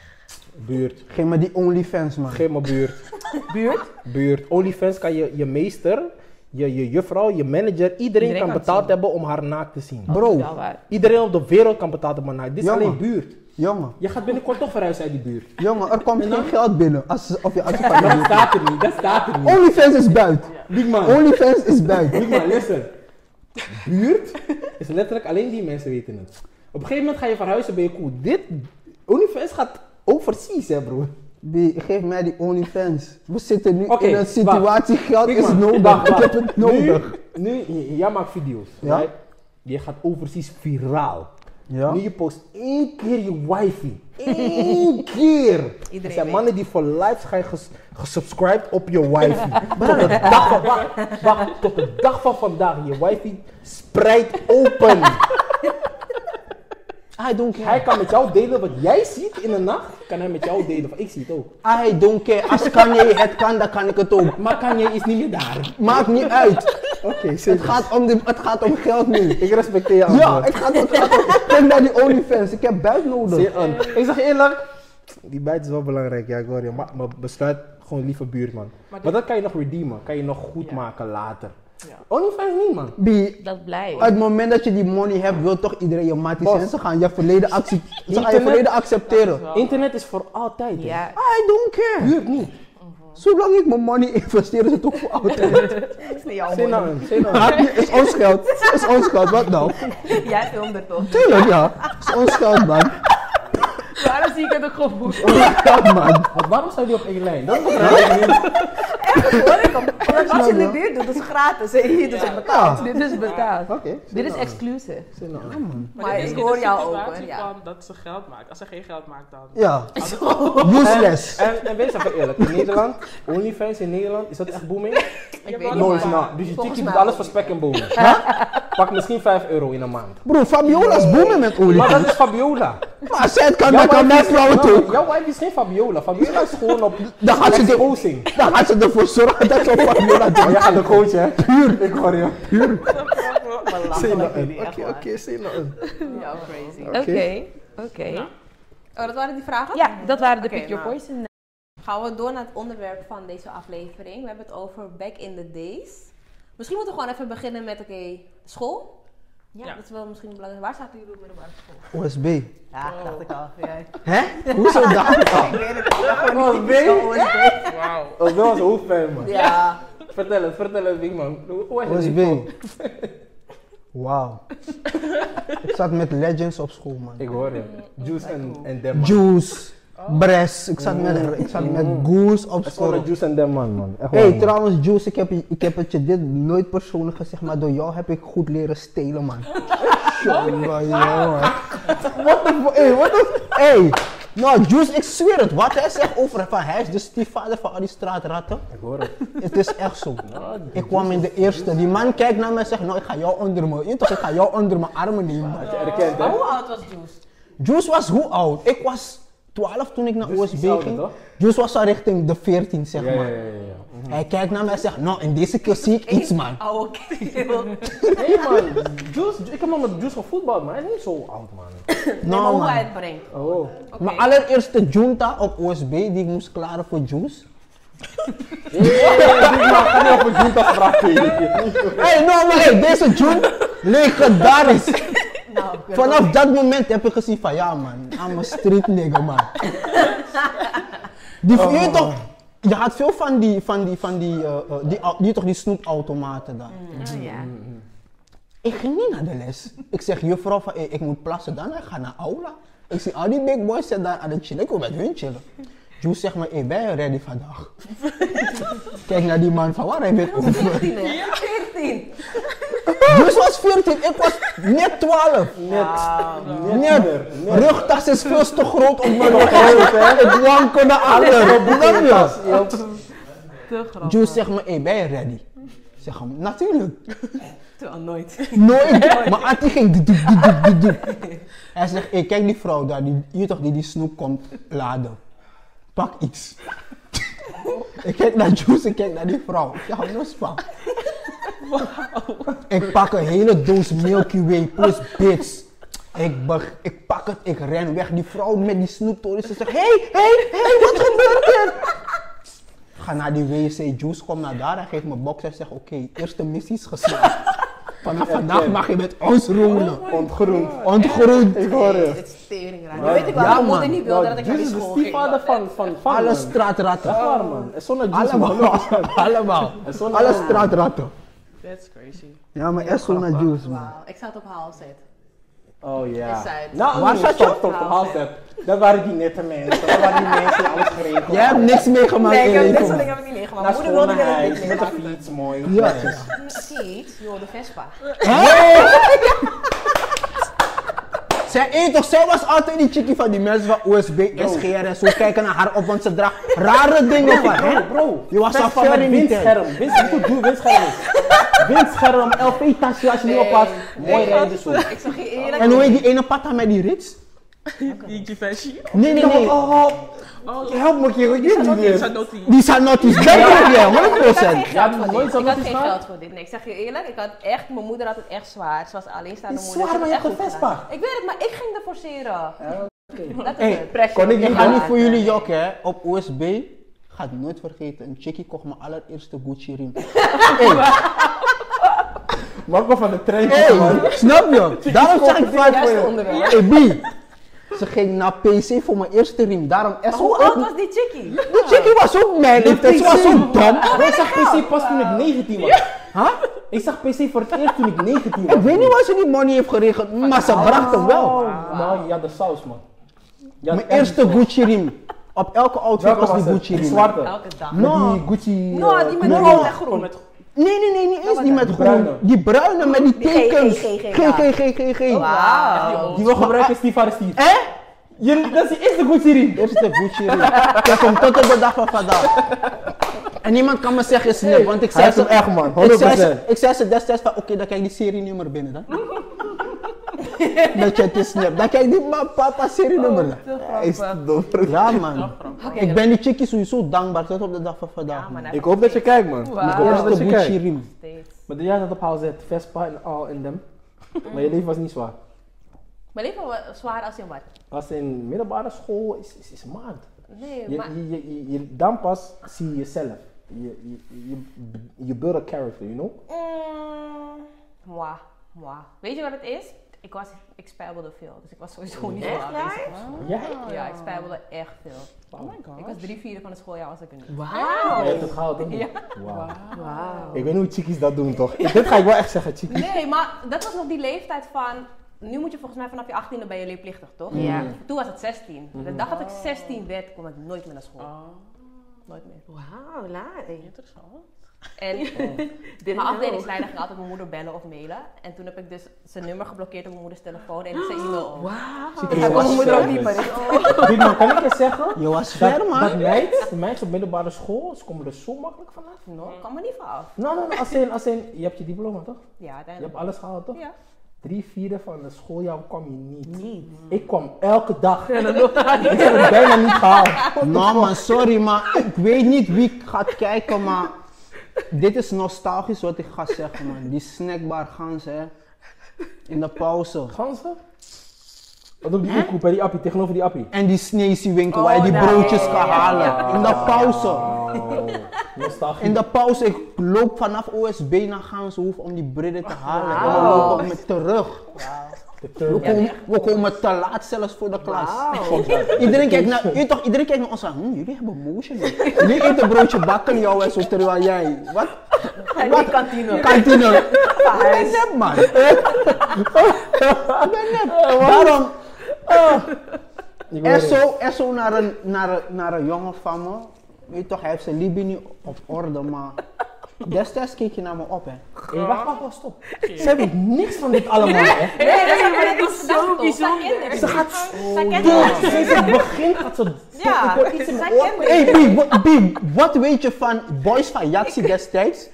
Speaker 2: Buurt.
Speaker 4: Geef me die OnlyFans, man.
Speaker 2: Geef me buurt.
Speaker 1: Buurt?
Speaker 2: Buurt. OnlyFans kan je, je meester, je, je juffrouw, je manager, iedereen,
Speaker 1: Iedereen kan
Speaker 2: kan
Speaker 1: het
Speaker 2: betaald
Speaker 1: zien.
Speaker 2: hebben om haar naakt te zien.
Speaker 1: Dat
Speaker 3: Oh,
Speaker 1: is wel
Speaker 4: Bro,
Speaker 1: waar.
Speaker 2: Iedereen op de wereld kan betaald hebben om haar naakt. Dit is
Speaker 4: Ja,
Speaker 2: alleen
Speaker 4: man.
Speaker 2: buurt.
Speaker 4: jongen.
Speaker 2: Je gaat binnenkort toch verhuizen uit die buurt.
Speaker 4: Jongen, er komt geen geld binnen. Als, of je, als je
Speaker 2: Dat
Speaker 4: van
Speaker 2: staat er niet, dat staat er niet.
Speaker 4: OnlyFans is buiten.
Speaker 2: Big man,
Speaker 4: OnlyFans is buiten.
Speaker 2: big man, listen. Buurt is letterlijk alleen die mensen weten het. Op een gegeven moment ga je verhuizen, ben je cool. Dit, OnlyFans gaat overseas hè bro.
Speaker 4: Die, geef mij die OnlyFans. We zitten nu
Speaker 2: Oké,
Speaker 4: in een situatie, geld
Speaker 2: Kijk
Speaker 4: is
Speaker 2: maar,
Speaker 4: nodig.
Speaker 2: wacht,
Speaker 4: Ik heb
Speaker 2: wacht.
Speaker 4: het nodig.
Speaker 2: Nu, nu, jij maakt video's.
Speaker 4: Ja.
Speaker 2: right? Je gaat overzies viraal.
Speaker 4: Ja.
Speaker 2: Nu je post één keer je wifi. Eén keer. er zijn
Speaker 3: weet.
Speaker 2: mannen die voor life zijn ges- gesubscribed op je wifi. tot, de dag van, wacht, wacht, tot de dag van vandaag. Je wifi spreidt open.
Speaker 4: I don't care.
Speaker 2: Hij kan met jou delen wat jij ziet in de nacht. Kan hij met jou delen. van, Ik zie het ook.
Speaker 4: I don't care. Als Kanye het kan, dan kan ik het ook.
Speaker 2: Maar Kanye is niet meer daar.
Speaker 4: Maakt niet uit.
Speaker 2: Oké,
Speaker 4: Het gaat om, de, het gaat om geld nu.
Speaker 2: Ik respecteer je
Speaker 4: Ja, het gaat, het gaat om. Geef mij die OnlyFans. Ik heb buit nodig.
Speaker 2: Zeer on. Ik zeg eerlijk, die bijt is wel belangrijk, ja, ik hoor je. Maar, maar besluit gewoon liever buurman. Maar,
Speaker 5: dit-
Speaker 2: dat kan je nog redeemen, kan je nog goed
Speaker 5: Ja.
Speaker 2: maken later.
Speaker 5: Ja.
Speaker 2: OnlyFans niet, man.
Speaker 4: Bi,
Speaker 1: Dat blijft.
Speaker 3: Oh,
Speaker 4: Uit het moment dat je die money hebt, wil toch iedereen je matties
Speaker 2: Bos.
Speaker 4: en ze gaan je verleden, accep- ze gaan je
Speaker 2: Internet-
Speaker 4: verleden accepteren.
Speaker 5: Ja.
Speaker 2: Internet is voor altijd. hè.
Speaker 1: Ja.
Speaker 4: I don't care.
Speaker 2: Buurt niet.
Speaker 4: Zolang ik mijn money investeer, is het toch voor altijd.
Speaker 3: is niet jouw
Speaker 2: Zin
Speaker 3: moeder.
Speaker 2: nou in, zin nou in.
Speaker 4: Haat niet, is ons geld. Is ons geld, wat nou?
Speaker 3: Jij filmt het toch?
Speaker 4: Tuurlijk ja. Is ons geld man.
Speaker 1: Waarom zie ik het ook gewoon
Speaker 4: Is ons geld man.
Speaker 2: Want waarom zou die op één lijn? Dat is wat
Speaker 3: Hoor ik hem. Omdat Wat je in de
Speaker 4: ja.
Speaker 3: buurt doet, dat is gratis. hè. Hier, dus ik betaal.
Speaker 4: Ja.
Speaker 1: Dit is betaald.
Speaker 4: Oké.
Speaker 1: Dit is exclusive.
Speaker 2: zin nou in.
Speaker 5: Maar,
Speaker 3: Maar
Speaker 5: dit is
Speaker 3: ik
Speaker 5: in de
Speaker 3: hoor jou ook,
Speaker 5: situatie
Speaker 3: hoor, ja.
Speaker 5: van dat ze geld maakt. Als ze geen geld maakt dan.
Speaker 4: Ja.
Speaker 5: Zo.
Speaker 4: Useless.
Speaker 2: En, en wees even eerlijk, in Nederland, OnlyFans in Nederland, is dat echt booming?
Speaker 3: Ik
Speaker 5: weet
Speaker 3: weet
Speaker 5: niet.
Speaker 2: No,
Speaker 5: maar-
Speaker 2: is not. Dus je
Speaker 3: Volgens
Speaker 2: chickie doet
Speaker 3: mij
Speaker 2: alles
Speaker 3: ook
Speaker 2: voor spek en bonen. Pak misschien 5 euro in een maand.
Speaker 4: Bro, Fabiola is boemen met olie.
Speaker 2: Maar dat is Fabiola.
Speaker 4: Maar als zij het kan,
Speaker 2: Jouw
Speaker 4: dan kan
Speaker 2: wife
Speaker 4: mijn
Speaker 2: is-
Speaker 4: vrouw het
Speaker 2: nou,
Speaker 4: ook.
Speaker 2: Jouw wife is geen Fabiola. Fabiola is gewoon op
Speaker 4: Dan gaat ze de-
Speaker 2: exposing.
Speaker 4: Dan gaat ze ervoor zorgen dat ze Fabiola doet.
Speaker 2: jij gaat de coach, hè? Ik hoor je.
Speaker 3: Belachelijk jullie, echt waar.
Speaker 2: zin nou.
Speaker 3: Ja, crazy.
Speaker 1: Oké. Oké.
Speaker 3: Oh, dat waren die vragen?
Speaker 1: Ja, dat waren de
Speaker 3: Oké,
Speaker 1: Pick Your
Speaker 3: nou.
Speaker 1: Poison.
Speaker 3: Gaan we door naar het onderwerp van deze aflevering. We hebben het over back in the days. Misschien moeten we gewoon even beginnen met, oké, school. Ja,
Speaker 5: Ja.
Speaker 3: dat is wel misschien belangrijk. Waar zaten jullie op middelbare school?
Speaker 4: OSB.
Speaker 3: Ja, dacht ik al.
Speaker 4: Hè? Hoezo dan?
Speaker 2: Oh,
Speaker 5: Wauw.
Speaker 2: Dat was hoofdpijn, man.
Speaker 3: Ja.
Speaker 2: Vertel het, vertel het, Big Man. Hoe is het?
Speaker 4: OSB. Wauw. Ik zat met legends op school, man.
Speaker 2: Ik hoor je. Juice en, en Demman.
Speaker 4: Juice, Bres. Ik zat met, ik zat met Goose op
Speaker 2: Het Mm. is gewoon
Speaker 4: school.
Speaker 2: een Juice en Demman, man. Echt
Speaker 4: Hé, hey,
Speaker 2: man.
Speaker 4: trouwens, Juice, ik heb, je- ik heb het je dit nooit persoonlijk gezegd, maar door jou heb ik goed leren stelen, man. Jongen, jongen. What the fuck? Hey, what the Hey. Nou, Juice, ik zweer het. Wat hij zegt over van hij is de stiefvader van al die straatratten.
Speaker 2: Ik hoor het. Ah,
Speaker 4: Het is echt zo. Ik kwam in de eerste. Die man kijkt naar mij en zegt, nou, ik ga jou onder mijn... Je toch, ik ga jou onder mijn armen nemen.
Speaker 2: Had je erkend, hè?
Speaker 3: Hoe oud was Juice?
Speaker 4: Juice was hoe oud? Ik was 12 toen ik naar
Speaker 2: Dus iets
Speaker 4: OSB
Speaker 2: ouder,
Speaker 4: ging.
Speaker 2: toch?
Speaker 4: Juice was al richting de 14, zeg
Speaker 2: Ja, ja,
Speaker 4: maar.
Speaker 2: ja, ja, ja.
Speaker 4: Hij kijkt naar mij en zegt, nou, in deze keer zie ik iets, man.
Speaker 3: Oude kerel.
Speaker 2: Nee, man. Juice, ik heb maar met Juice gevoetbald, maar hij is niet zo oud, man.
Speaker 3: Maar
Speaker 4: Nou,
Speaker 3: hoe hij
Speaker 4: man.
Speaker 3: het brengt.
Speaker 2: Oh.
Speaker 3: Oké.
Speaker 4: Mijn allereerste junta op OSB die ik moest klaren voor Juice.
Speaker 2: Ga niet op een Junta vragen.
Speaker 4: Hé, hey, nou, maar hey, deze June, legendarisch.
Speaker 3: Nou,
Speaker 4: Vanaf dat moment heb ik gezien van, ja man, I'm a street nigger, man. Die, je, weet toch, je had veel van die, van die, van die, eh, eh, die, au- die, toch die snoepautomaten daar.
Speaker 1: Oh, ja.
Speaker 4: Ik ging niet naar de les. Ik zeg juffrouw van, "Hey, ik moet plassen, dan ik ga naar aula. Ik zie al die big boys zitten daar aan het chillen, ik wil met hun chillen. Jules zegt me, hey, ben je ready vandaag? Kijk naar die man van, waar heb je het over?
Speaker 3: 14 hè? 14.
Speaker 4: Jules was 14, ik was net 12. Net, rugtas is veel te groot om me nog Ik wankel naar achter. Snap je?
Speaker 5: Te grappig.
Speaker 4: Jules zegt me, hey, ben je ready? Ik zeg hem, natuurlijk.
Speaker 3: Terwijl nooit.
Speaker 4: Nooit. Maar Ati ging. doe, doe, doe, doe, doe, doe. Hij zegt: hey, kijk die vrouw daar, die, je toch, die die snoep komt laden. Pak iets. ik kijk naar Juice, ik kijk naar die vrouw. Ja, dat is pak. Ik pak een hele doos Milky Way plus bits. Ik, beg- ik pak het, ik ren weg. Die vrouw met die snoeptoren, ze zegt: hey, hey, hey, wat gebeurt er? Ik Ga naar die WC, Juice kom naar daar en geef me box. Hij zegt: oké, eerste missie is geslaagd. Vanaf vandaag mag je met ons roelen.
Speaker 2: Ontgroend.
Speaker 4: Ontgroend.
Speaker 2: Ik hoor je.
Speaker 3: Dit is tering raar. Nu weet ik wel
Speaker 4: Ja,
Speaker 3: dat mijn
Speaker 4: man.
Speaker 3: moeder niet wilde dat ik naar die
Speaker 2: Juice is de
Speaker 3: school ging.
Speaker 2: stiefvader van, van, van
Speaker 4: Alle
Speaker 2: man.
Speaker 4: straatratten.
Speaker 2: Echt waar, man. Zonder Juice.
Speaker 4: Allemaal. Allemaal.
Speaker 2: Zonder
Speaker 4: Alle
Speaker 2: Juice.
Speaker 4: straatratten.
Speaker 5: That's crazy.
Speaker 4: Ja, maar echt zo naar Juice, man.
Speaker 3: Wauw, ik zat op haal zet.
Speaker 2: Oh ja.
Speaker 3: Is uit.
Speaker 2: Nou,
Speaker 4: Waar zat je?
Speaker 2: Stop, stop, stop, halt het. Dat waren die nette mensen. Dat waren die mensen die alles geregeld
Speaker 4: Jij hebt niks meegemaakt
Speaker 3: Nee,
Speaker 4: in
Speaker 3: ik
Speaker 4: je
Speaker 3: heb, dit
Speaker 4: leven.
Speaker 3: soort
Speaker 4: man.
Speaker 3: dingen heb ik niet meegemaakt.
Speaker 2: Naar
Speaker 3: Mijn moeder wilde
Speaker 2: school, naar
Speaker 3: dat ik
Speaker 2: huis,
Speaker 3: niet
Speaker 2: met de
Speaker 3: meegemaakt.
Speaker 2: fiets, mooi.
Speaker 4: Ja.
Speaker 3: Fiets, joh, de Vespa.
Speaker 4: Zij, hey, toch, zij was altijd die chickie van die mensen van OSB, SGR en zo kijken naar haar op, want ze draagt rare dingen van.
Speaker 2: Bro, bro.
Speaker 4: Je was
Speaker 2: Best
Speaker 4: al van
Speaker 2: ver
Speaker 4: mijn
Speaker 2: in
Speaker 4: windscherm.
Speaker 2: windscherm. Wist je hoe duur windscherm is? Windscherm, LP-tasje als je niet
Speaker 3: Nee.
Speaker 2: oppast. Mooi rijden zo.
Speaker 3: Ik zag je eerlijk.
Speaker 4: En hoe heet die ene patta met die rits?
Speaker 5: Die Givenchy.
Speaker 4: Nee, nee, nee.
Speaker 2: Oh,
Speaker 5: Oh,
Speaker 2: help me, kerel. Ik weet het
Speaker 5: die
Speaker 2: niet
Speaker 5: zijn
Speaker 2: meer.
Speaker 5: notie.
Speaker 4: Die Sanotis, dat heb
Speaker 3: Ik had geen
Speaker 4: jij, 100%.
Speaker 3: geld
Speaker 2: nooit
Speaker 3: voor dit.
Speaker 2: zo'n
Speaker 3: Ik had
Speaker 2: notitie
Speaker 3: geen
Speaker 2: gehad?
Speaker 3: geld voor dit. Nee, ik zeg je eerlijk, ik had echt, mijn moeder had het echt zwaar. Ze was alleenstaande
Speaker 2: Is
Speaker 3: moeder.
Speaker 2: zwaar,
Speaker 3: Ze
Speaker 2: maar je
Speaker 3: had
Speaker 2: hebt
Speaker 3: echt
Speaker 2: een
Speaker 3: goed
Speaker 2: Vespa.
Speaker 3: gedaan. Ik weet het, maar ik ging ervoor forceren. Dat is
Speaker 4: Hey,
Speaker 3: het. Pressure
Speaker 2: kon ik
Speaker 3: op je
Speaker 4: Ik ga
Speaker 3: maat.
Speaker 4: niet voor jullie jokken, hè. Op OSB, ga het nooit vergeten. Een chickie kocht mijn allereerste Gucci ring.
Speaker 2: Maak me van de trein.
Speaker 4: Hey, snap je? Daarom zeg ik
Speaker 2: kopen
Speaker 4: vaak
Speaker 2: dit
Speaker 4: voor
Speaker 3: juiste
Speaker 4: je.
Speaker 3: onderwerp.
Speaker 4: Hey, B. Ze ging naar PC voor mijn eerste riem. Daarom
Speaker 3: Maar
Speaker 4: echt
Speaker 3: hoe oud was die chickie?
Speaker 4: Die chickie was ook mijn leeftijd.
Speaker 2: ah,
Speaker 4: Ze was zo dom.
Speaker 3: Ah,
Speaker 2: Ik zag PC pas toen ik 19 was.
Speaker 4: Huh?
Speaker 2: Ik zag PC voor het eerst toen ik 19 was.
Speaker 4: Ik weet niet waar ze die money heeft geregeld, maar ze bracht hem wel.
Speaker 2: Oh, Nou, je had de saus, man. Je had
Speaker 4: Mijn
Speaker 2: echt
Speaker 4: eerste Gucci riem. Op elke outfit
Speaker 2: Welke
Speaker 4: was die
Speaker 2: was het?
Speaker 4: Gucci
Speaker 2: Die
Speaker 4: riem.
Speaker 2: zwarte.
Speaker 3: Elke dag.
Speaker 2: Met
Speaker 4: No.
Speaker 2: die Gucci.
Speaker 3: Nou,
Speaker 2: eh,
Speaker 3: die met
Speaker 2: kleur.
Speaker 3: rood en groen.
Speaker 4: Nee, nee, nee, niet eens die met groen.
Speaker 2: bruine.
Speaker 4: Die bruine met die
Speaker 3: Die G,
Speaker 4: tekens.
Speaker 3: G, G, G,
Speaker 4: G,
Speaker 3: ja.
Speaker 4: G, G, G, G.
Speaker 3: Wauw.
Speaker 4: Die we
Speaker 2: Gebruik
Speaker 4: gebruiken.
Speaker 2: is die van Steve.
Speaker 4: Hè?
Speaker 2: Je- Dat is de eerste Gucci ring.
Speaker 4: Eh, Eerste Gucci riem. Dat komt tot op de dag van vandaag. En niemand kan me zeggen snap, want
Speaker 2: Hij
Speaker 4: ik zei
Speaker 2: heeft
Speaker 4: ze
Speaker 2: hem echt, man.
Speaker 4: Ik zei, ze,
Speaker 2: 100%.
Speaker 4: ik zei ze destijds van, oké, dan kijk die serienummer binnen dan. Met je te snap. Dan kijk die ma- papa serienummer dan.
Speaker 2: Is dom.
Speaker 4: Ja, man.
Speaker 3: Oké,
Speaker 4: Ik ben die chickie sowieso dankbaar tot op de dag van vandaag.
Speaker 3: Ja, maar
Speaker 4: man.
Speaker 3: nou-
Speaker 2: Ik hoop dat je kijkt, man. Ik hoop
Speaker 4: Eerste
Speaker 2: dat je
Speaker 4: Gucci
Speaker 2: kijkt.
Speaker 4: riem.
Speaker 3: steeds.
Speaker 2: Maar jij zat op haal zet, Vespa en al en dem. Maar
Speaker 3: Mm.
Speaker 2: je leven was niet zwaar.
Speaker 3: Mijn leven was zwaar als in wat?
Speaker 2: Als in middelbare school is, is, is maand.
Speaker 3: Nee,
Speaker 2: Je,
Speaker 3: maar...
Speaker 2: je, je, je- je- dan pas zie je jezelf. Je, je, je, je build a character, you know?
Speaker 3: Mm, Mwah, mwah. Weet je wat het is? Ik, was, ik spijbelde veel, dus ik was sowieso niet echt Oh.
Speaker 2: Ja.
Speaker 3: Ja, ik spijbelde echt veel.
Speaker 5: Oh my god.
Speaker 3: Ik was drie vierde van het schooljaar was ik er niet.
Speaker 2: Je
Speaker 5: Wauw.
Speaker 2: hebt het gehaald, toch? Wauw.
Speaker 3: Wauw.
Speaker 2: Ik weet niet hoe chickies dat doen, toch? Dit ga ik wel echt zeggen, chickies.
Speaker 3: Nee, maar dat was nog die leeftijd van nu moet je volgens mij vanaf je 18e ben je leerplichtig, toch?
Speaker 1: Ja.
Speaker 3: Toen was het 16. De dag dat ik 16 werd, kwam ik nooit meer naar school.
Speaker 5: Oh,
Speaker 3: Nooit meer.
Speaker 1: Wauw, laat.
Speaker 5: interessant.
Speaker 3: En mijn afdelingsleider ging altijd mijn moeder bellen of mailen. En toen heb ik dus zijn nummer geblokkeerd op mijn moeders telefoon en zijn e-mail ook.
Speaker 2: Zie
Speaker 4: Ik
Speaker 2: je,
Speaker 4: heb
Speaker 2: was
Speaker 4: mijn moeder ook
Speaker 2: ver,
Speaker 4: niet
Speaker 2: dus. Weet je, maar kan ik je zeggen?
Speaker 4: Je was ver,
Speaker 2: Dat, dat
Speaker 4: man.
Speaker 2: meid, de meisjes op middelbare school, ze komen er zo makkelijk vanaf.
Speaker 3: No, kan me niet van af.
Speaker 2: Nou, nou, nou, als in, als in, je hebt je diploma toch?
Speaker 3: Ja,
Speaker 2: Je hebt
Speaker 3: uiteindelijk.
Speaker 2: alles gehaald toch?
Speaker 3: Ja.
Speaker 2: Drie vierde van de schooljaar kwam je niet.
Speaker 1: Niet.
Speaker 2: Ik kwam elke dag. En dan Ik heb het bijna niet gehaald.
Speaker 4: Nou man, sorry, maar ik weet niet wie gaat kijken, maar dit is nostalgisch wat ik ga zeggen, man. Die snackbar gans, hè. In de pauze.
Speaker 2: Ganzen? Wat ook die koekoep, hè, die appie, tegenover die appie.
Speaker 4: En die sneeziewinkel waar je die
Speaker 3: daar,
Speaker 4: broodjes
Speaker 3: ja, ja,
Speaker 4: kan
Speaker 3: ja,
Speaker 4: halen. In de pauze.
Speaker 2: Oh, Nostalgie.
Speaker 4: In de pauze, ik loop vanaf OSB naar Ganshoef om die brillen te halen. En we lopen met terug.
Speaker 2: De
Speaker 4: We
Speaker 2: turbo.
Speaker 4: komen, we komen te laat zelfs voor de klas.
Speaker 2: Fuck that.
Speaker 4: Iedereen kijkt naar, je weet toch, iedereen kijkt naar ons aan, hm, jullie hebben motion. Jullie eten broodje bakken jou en zo, terwijl jij, wat?
Speaker 3: Wat kantine?
Speaker 4: Kantine. Ik ben nep, man. Ik ben nep. Daarom,
Speaker 2: Ik
Speaker 4: er
Speaker 2: weet het.
Speaker 4: zo, er zo naar, een, naar, een, naar een jongen van me, weet toch, hij heeft zijn Libi niet op orde, maar destijds keek je naar me op, hè.
Speaker 2: Hey, wacht, wacht, wacht, stop. Ze hebben niks van dit allemaal, hè.
Speaker 3: Nee, dat is maar dat is zo bijzonder.
Speaker 2: Ze
Speaker 3: Ze
Speaker 2: gaat
Speaker 3: kent
Speaker 2: door.
Speaker 3: het.
Speaker 2: Sinds het begin gaat ze
Speaker 3: Ja,
Speaker 2: Ik hoor iets in
Speaker 3: zij
Speaker 2: mijn
Speaker 3: kent
Speaker 2: oor.
Speaker 3: het.
Speaker 4: Hey, Big, wat- Big, wat weet je van boys van Jaxi destijds?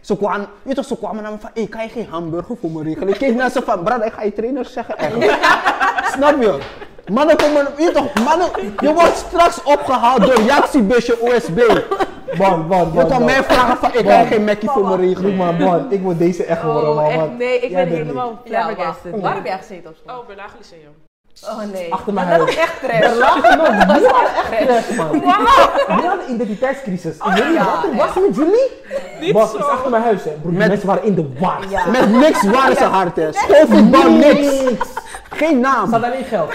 Speaker 4: Ze kwamen, je weet toch, ze kwamen naar me van, hey, kan je geen hamburger voor me regelen? Ik keek naar ze van, brad, ik ga je trainer zeggen echt. Snap je? Mannen komen, je weet toch, mannen, je wordt straks opgehaald door Jaxi busje OSB.
Speaker 2: Man, man, man,
Speaker 4: Je kan
Speaker 2: man.
Speaker 4: mij vragen van, ik kan je geen Mackie voor me regelen?
Speaker 2: Doe maar, man. Ik moet deze echt
Speaker 5: Oh,
Speaker 2: worden, man.
Speaker 1: echt,
Speaker 2: want
Speaker 1: nee, ik
Speaker 2: jij
Speaker 1: ben
Speaker 2: bent
Speaker 1: helemaal
Speaker 3: Ja,
Speaker 1: flabbergasted.
Speaker 3: waar- waar heb jij gezeten op school?
Speaker 5: Oh, Berlage Lyceum.
Speaker 3: Oh nee.
Speaker 2: Achter mijn
Speaker 3: Dat
Speaker 2: huis.
Speaker 3: is echt trash.
Speaker 2: niet. Jullie hadden echt crash, man. Jullie hadden identiteitscrisis.
Speaker 3: Oh,
Speaker 2: Ik weet niet, wat er was met jullie?
Speaker 5: Niet
Speaker 2: Bas,
Speaker 5: zo.
Speaker 2: is achter mijn huis, hè. Broer, die
Speaker 4: Met-
Speaker 2: mensen waren in de war.
Speaker 3: Ja.
Speaker 4: Met niks waren ze hard, hè. Schoolvoetbal, niks. Geen naam.
Speaker 2: Ze hadden alleen geld.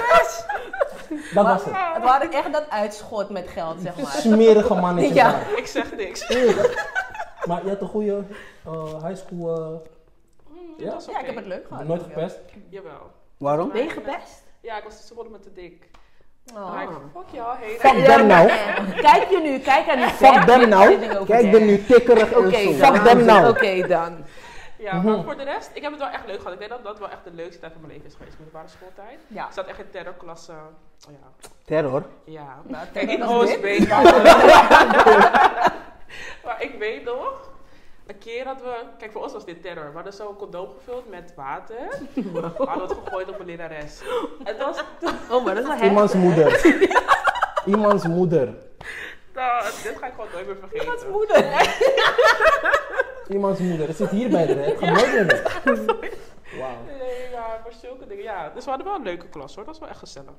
Speaker 2: Dat was het.
Speaker 3: Het waren echt dat uitschot met geld, zeg maar.
Speaker 2: Smerige mannetjes.
Speaker 3: Ja.
Speaker 2: daar.
Speaker 5: Ik zeg niks.
Speaker 2: Maar je had een goede eh, high school. eh, ja?
Speaker 5: Dat is
Speaker 3: Ja, ik
Speaker 5: oké.
Speaker 3: heb het leuk gehad.
Speaker 2: Nooit gepest.
Speaker 5: Jawel.
Speaker 4: Waarom?
Speaker 3: Ben je gepest?
Speaker 5: Ja, ik was ze worden me te dik.
Speaker 3: Oh.
Speaker 5: Maar ik, fuck jou, hey.
Speaker 2: Fuck them nou.
Speaker 3: Kijk je nu, kijk aan die
Speaker 2: Fuck them nou.
Speaker 4: Kijk er nu tikkerig in
Speaker 3: Oké,
Speaker 4: zo.
Speaker 3: dan.
Speaker 2: Fuck them nou.
Speaker 3: Oké dan.
Speaker 5: Ja, maar voor de rest, ik heb het wel echt leuk gehad. Ik denk dat dat wel echt de leukste tijd van mijn leven is geweest, middelbare schooltijd.
Speaker 3: Ja.
Speaker 5: Ik zat echt in terrorklasse. Oh ja.
Speaker 4: Terror.
Speaker 5: Ja.
Speaker 3: terror
Speaker 5: en in
Speaker 3: was dit.
Speaker 5: OSB. maar- maar ik weet nog, een keer hadden we... Kijk, voor ons was dit terror. We hadden zo'n condoom gevuld met water. We hadden het gegooid op een lerares. Het was...
Speaker 3: Oh, maar dat is wel heftig.
Speaker 2: Iemands moeder. Iemands moeder.
Speaker 5: Nou, dit ga ik gewoon nooit meer vergeten.
Speaker 3: Dat is
Speaker 2: nou.
Speaker 3: moeder.
Speaker 2: Iemands moeder. Het zit hier bij de red. Ga nooit meer weg. Wauw.
Speaker 5: Nee, ja, maar zulke dingen. Ja, dus we hadden wel een leuke klas hoor. Dat was wel echt gezellig.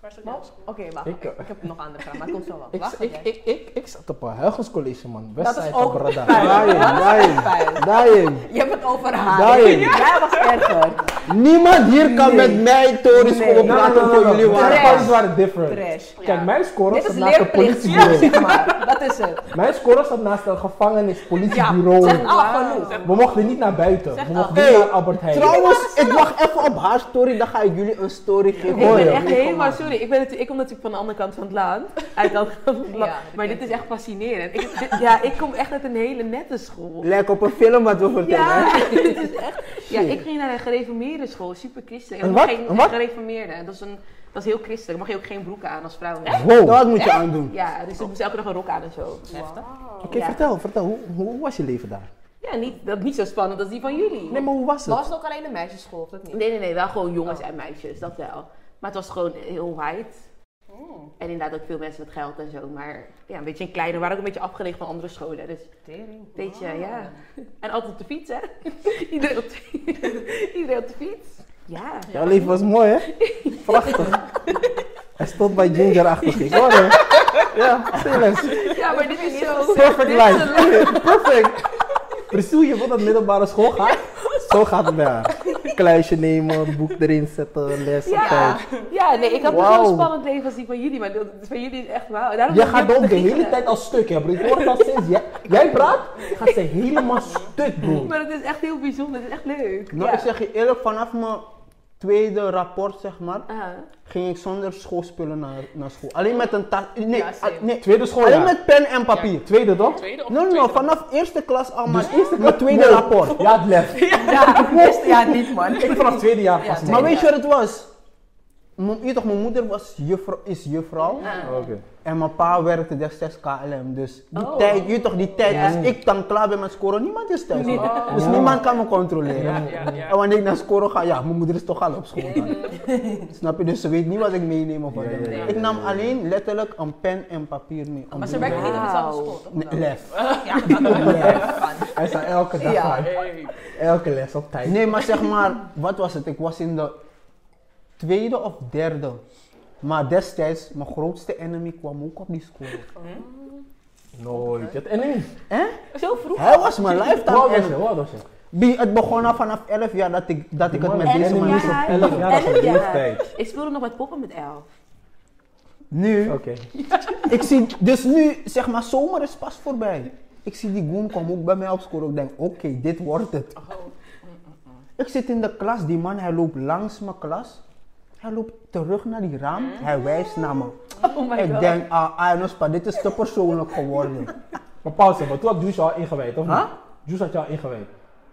Speaker 5: Waar zat jij
Speaker 3: Maar-
Speaker 5: op school?
Speaker 3: Oké, wacht.
Speaker 2: Ik,
Speaker 3: Ik,
Speaker 2: eh,
Speaker 3: heb nog andere vragen, maar het komt zo wel.
Speaker 2: Ik,
Speaker 3: Wacht,
Speaker 2: ik,
Speaker 3: oké.
Speaker 2: ik, ik, ik zat op een Huygens College, man.
Speaker 3: dat
Speaker 2: Westzijde
Speaker 3: is
Speaker 2: van
Speaker 3: ook
Speaker 2: Brada.
Speaker 3: fijn.
Speaker 4: Daarin, daarin,
Speaker 3: Fijn.
Speaker 4: daarin.
Speaker 3: Je hebt het over haar.
Speaker 4: Daarin.
Speaker 3: Jij was erger.
Speaker 4: Niemand hier kan met mij Tories
Speaker 3: Nee.
Speaker 4: komen
Speaker 2: Nee, Nou, nee,
Speaker 4: praten
Speaker 2: nee,
Speaker 4: voor
Speaker 2: nee,
Speaker 4: jullie
Speaker 2: nee.
Speaker 4: waren.
Speaker 3: Terecht.
Speaker 2: Mijn scores waren different.
Speaker 3: Trash.
Speaker 2: Kijk, mijn score
Speaker 3: Dit is
Speaker 2: staat naast het
Speaker 3: leerplicht,
Speaker 2: politiebureau.
Speaker 3: zeg maar. Dat is het.
Speaker 2: Mijn score staat naast een gevangenis,
Speaker 3: Ja,
Speaker 2: politiebureau.
Speaker 3: zeg al genoeg.
Speaker 2: We mochten niet naar buiten.
Speaker 3: Zeg nou.
Speaker 2: We
Speaker 3: al.
Speaker 2: mochten
Speaker 4: Hey,
Speaker 2: niet naar Albert Heijn.
Speaker 4: Trouwens, ik wacht even op haar story, dan ga ik jullie een story geven.
Speaker 1: Ik
Speaker 2: Mooi,
Speaker 1: ben
Speaker 2: hoor.
Speaker 1: echt helemaal, sorry, ik, ben natuurlijk, ik kom natuurlijk van de andere kant van het land. Uit de andere kant van het land.
Speaker 3: Ja, dat
Speaker 1: maar
Speaker 3: ken
Speaker 1: dit is echt fascinerend. Ik, dit- ja, ik kom echt uit een hele nette school.
Speaker 4: Lijkt op een film wat we vertellen. hè?
Speaker 1: Ja, dit is echt, ja, ik ging naar een gereformeerde school, super christelijk. En
Speaker 2: Een
Speaker 1: dan
Speaker 2: wat?
Speaker 1: Geen,
Speaker 2: Een wat?
Speaker 1: Gereformeerde, dat is, een, dat is heel christelijk. Mag je ook geen broeken aan als vrouw.
Speaker 2: Wow.
Speaker 4: Dat moet je aandoen.
Speaker 1: Ja, dus ik moest elke dag een rok aan en zo.
Speaker 3: Heftig.
Speaker 2: Oké,
Speaker 1: Ja.
Speaker 2: vertel, vertel. Hoe, hoe was je leven daar?
Speaker 1: Ja, niet, dat, niet zo spannend als die van jullie.
Speaker 2: Nee, maar hoe was
Speaker 3: Was
Speaker 2: het?
Speaker 3: het ook alleen een meisjesschool, of dat niet?
Speaker 1: Nee, nee, nee, wel gewoon jongens en meisjes, dat wel. Maar het was gewoon heel white.
Speaker 2: Oh.
Speaker 1: En inderdaad ook veel mensen met geld en zo. Maar ja, een beetje een kleine, we waren ook een beetje afgelegen van andere scholen. Dus
Speaker 3: Tering.
Speaker 1: een beetje, ja. En altijd op de fiets, hè? Iedereen op de fiets. Iedereen op de fiets. Ja.
Speaker 2: Jouw leven was mooi, hè? Prachtig. Hij stond bij Ginger achter zich. Hoor, hè? Ja, serieus.
Speaker 1: Ja, maar dit is zo...
Speaker 2: Perfect life. Perfect. Precies, je wilt dat middelbare school gaat? Zo gaat het bij haar.
Speaker 4: kluisje nemen, boek erin zetten, les op
Speaker 1: Ja,
Speaker 4: tijd.
Speaker 1: ja, nee, ik had een
Speaker 4: Wauw.
Speaker 1: heel spannend leven als die van jullie, maar dat, van jullie is echt wauw. Daarom
Speaker 2: Je
Speaker 1: ben ik
Speaker 2: gaat
Speaker 1: heel
Speaker 2: ook de hele
Speaker 1: beginnen.
Speaker 2: tijd al stuk, hè, bro. Ik hoor dat sinds jij, jij praat, gaat ze helemaal stuk, bro.
Speaker 1: Maar het is echt heel bijzonder, het is echt leuk.
Speaker 4: Nou,
Speaker 1: ja.
Speaker 4: ik zeg je eerlijk, vanaf mijn tweede rapport, zeg maar,
Speaker 1: Ah.
Speaker 4: ging ik zonder schoolspullen naar, naar school. Alleen met een tas. Nee,
Speaker 5: Ja, same.
Speaker 4: a- nee,
Speaker 2: Tweede
Speaker 4: alleen
Speaker 2: schooljaar.
Speaker 4: met pen en papier.
Speaker 2: Tweede toch?
Speaker 5: Tweede of
Speaker 4: Nee, nee, nee,
Speaker 5: tweede?
Speaker 4: vanaf eerste klas al, maar
Speaker 2: Dus eerste
Speaker 4: mijn tweede
Speaker 2: Nee,
Speaker 4: rapport.
Speaker 2: Ja, het lef.
Speaker 1: Ja, best, ja, niet man.
Speaker 2: Ik vanaf het tweede jaar vast.
Speaker 4: Maar weet je wat het was? Mijn, je weet toch, mijn moeder was juffrou, is juffrouw
Speaker 2: Oké.
Speaker 4: en mijn pa werkte destijds KLM. Dus die
Speaker 1: Oh.
Speaker 4: tijd, je weet toch, die tijd,
Speaker 1: Ja.
Speaker 4: als ik dan klaar ben met scoren, niemand is thuis.
Speaker 1: Nee.
Speaker 2: Oh.
Speaker 4: Dus niemand kan me controleren.
Speaker 5: Ja, ja, ja.
Speaker 4: En wanneer ik naar scoren ga, ja, mijn moeder is toch al op school. dan. Snap je? Dus ze weet niet wat ik meeneem of wat
Speaker 2: Ja,
Speaker 4: dan ook.
Speaker 2: ja, ja,
Speaker 4: Ik
Speaker 2: ja,
Speaker 4: nam
Speaker 2: ja.
Speaker 4: alleen letterlijk een pen en papier mee. om
Speaker 3: Maar
Speaker 4: te
Speaker 3: ze werken
Speaker 4: doen.
Speaker 3: niet op dezelfde
Speaker 1: Wauw.
Speaker 3: school, toch?
Speaker 4: Nee,
Speaker 3: Dan?
Speaker 4: lef.
Speaker 3: Ja.
Speaker 4: Lef.
Speaker 3: Kan.
Speaker 2: Hij staat elke dag
Speaker 1: Ja.
Speaker 2: aan.
Speaker 5: Hey.
Speaker 2: Elke les op tijd.
Speaker 4: Nee, maar zeg maar, wat was het? Ik was in de tweede of derde. Maar destijds, mijn grootste enemy kwam ook op die school.
Speaker 2: Nooit. Het en nee.
Speaker 4: Hè?
Speaker 1: Zo vroeg.
Speaker 4: Hij was mijn
Speaker 2: Hoe
Speaker 4: lifetime
Speaker 2: oud was je?
Speaker 4: enemy.
Speaker 2: Hoe oud was je?
Speaker 4: Bi- Het begon al vanaf 11 jaar dat ik, dat ik het met
Speaker 1: elf
Speaker 4: deze man
Speaker 1: jaar.
Speaker 4: moest op-
Speaker 2: Elf jaar, dat is
Speaker 1: Elf
Speaker 2: een
Speaker 1: jaar.
Speaker 2: leeftijd.
Speaker 1: Ik speelde nog met poppen met L.
Speaker 4: Nu,
Speaker 2: Oké.
Speaker 4: ik zie, dus nu, zeg maar, zomer is pas voorbij. Ik zie die goon kwam ook bij mij op school. Ik denk, oké, dit wordt het.
Speaker 1: Oh.
Speaker 4: Ik zit in de klas, die man, hij loopt langs mijn klas. Hij loopt terug naar die raam, hij wijst naar me.
Speaker 1: Oh my
Speaker 4: Ik
Speaker 1: god.
Speaker 4: denk, ah, Arnospa, dit is te persoonlijk geworden.
Speaker 2: Maar pauze, maar toen had Juice jou al ingewijd, of
Speaker 4: Huh?
Speaker 2: niet? Juice had jou al ingewijd.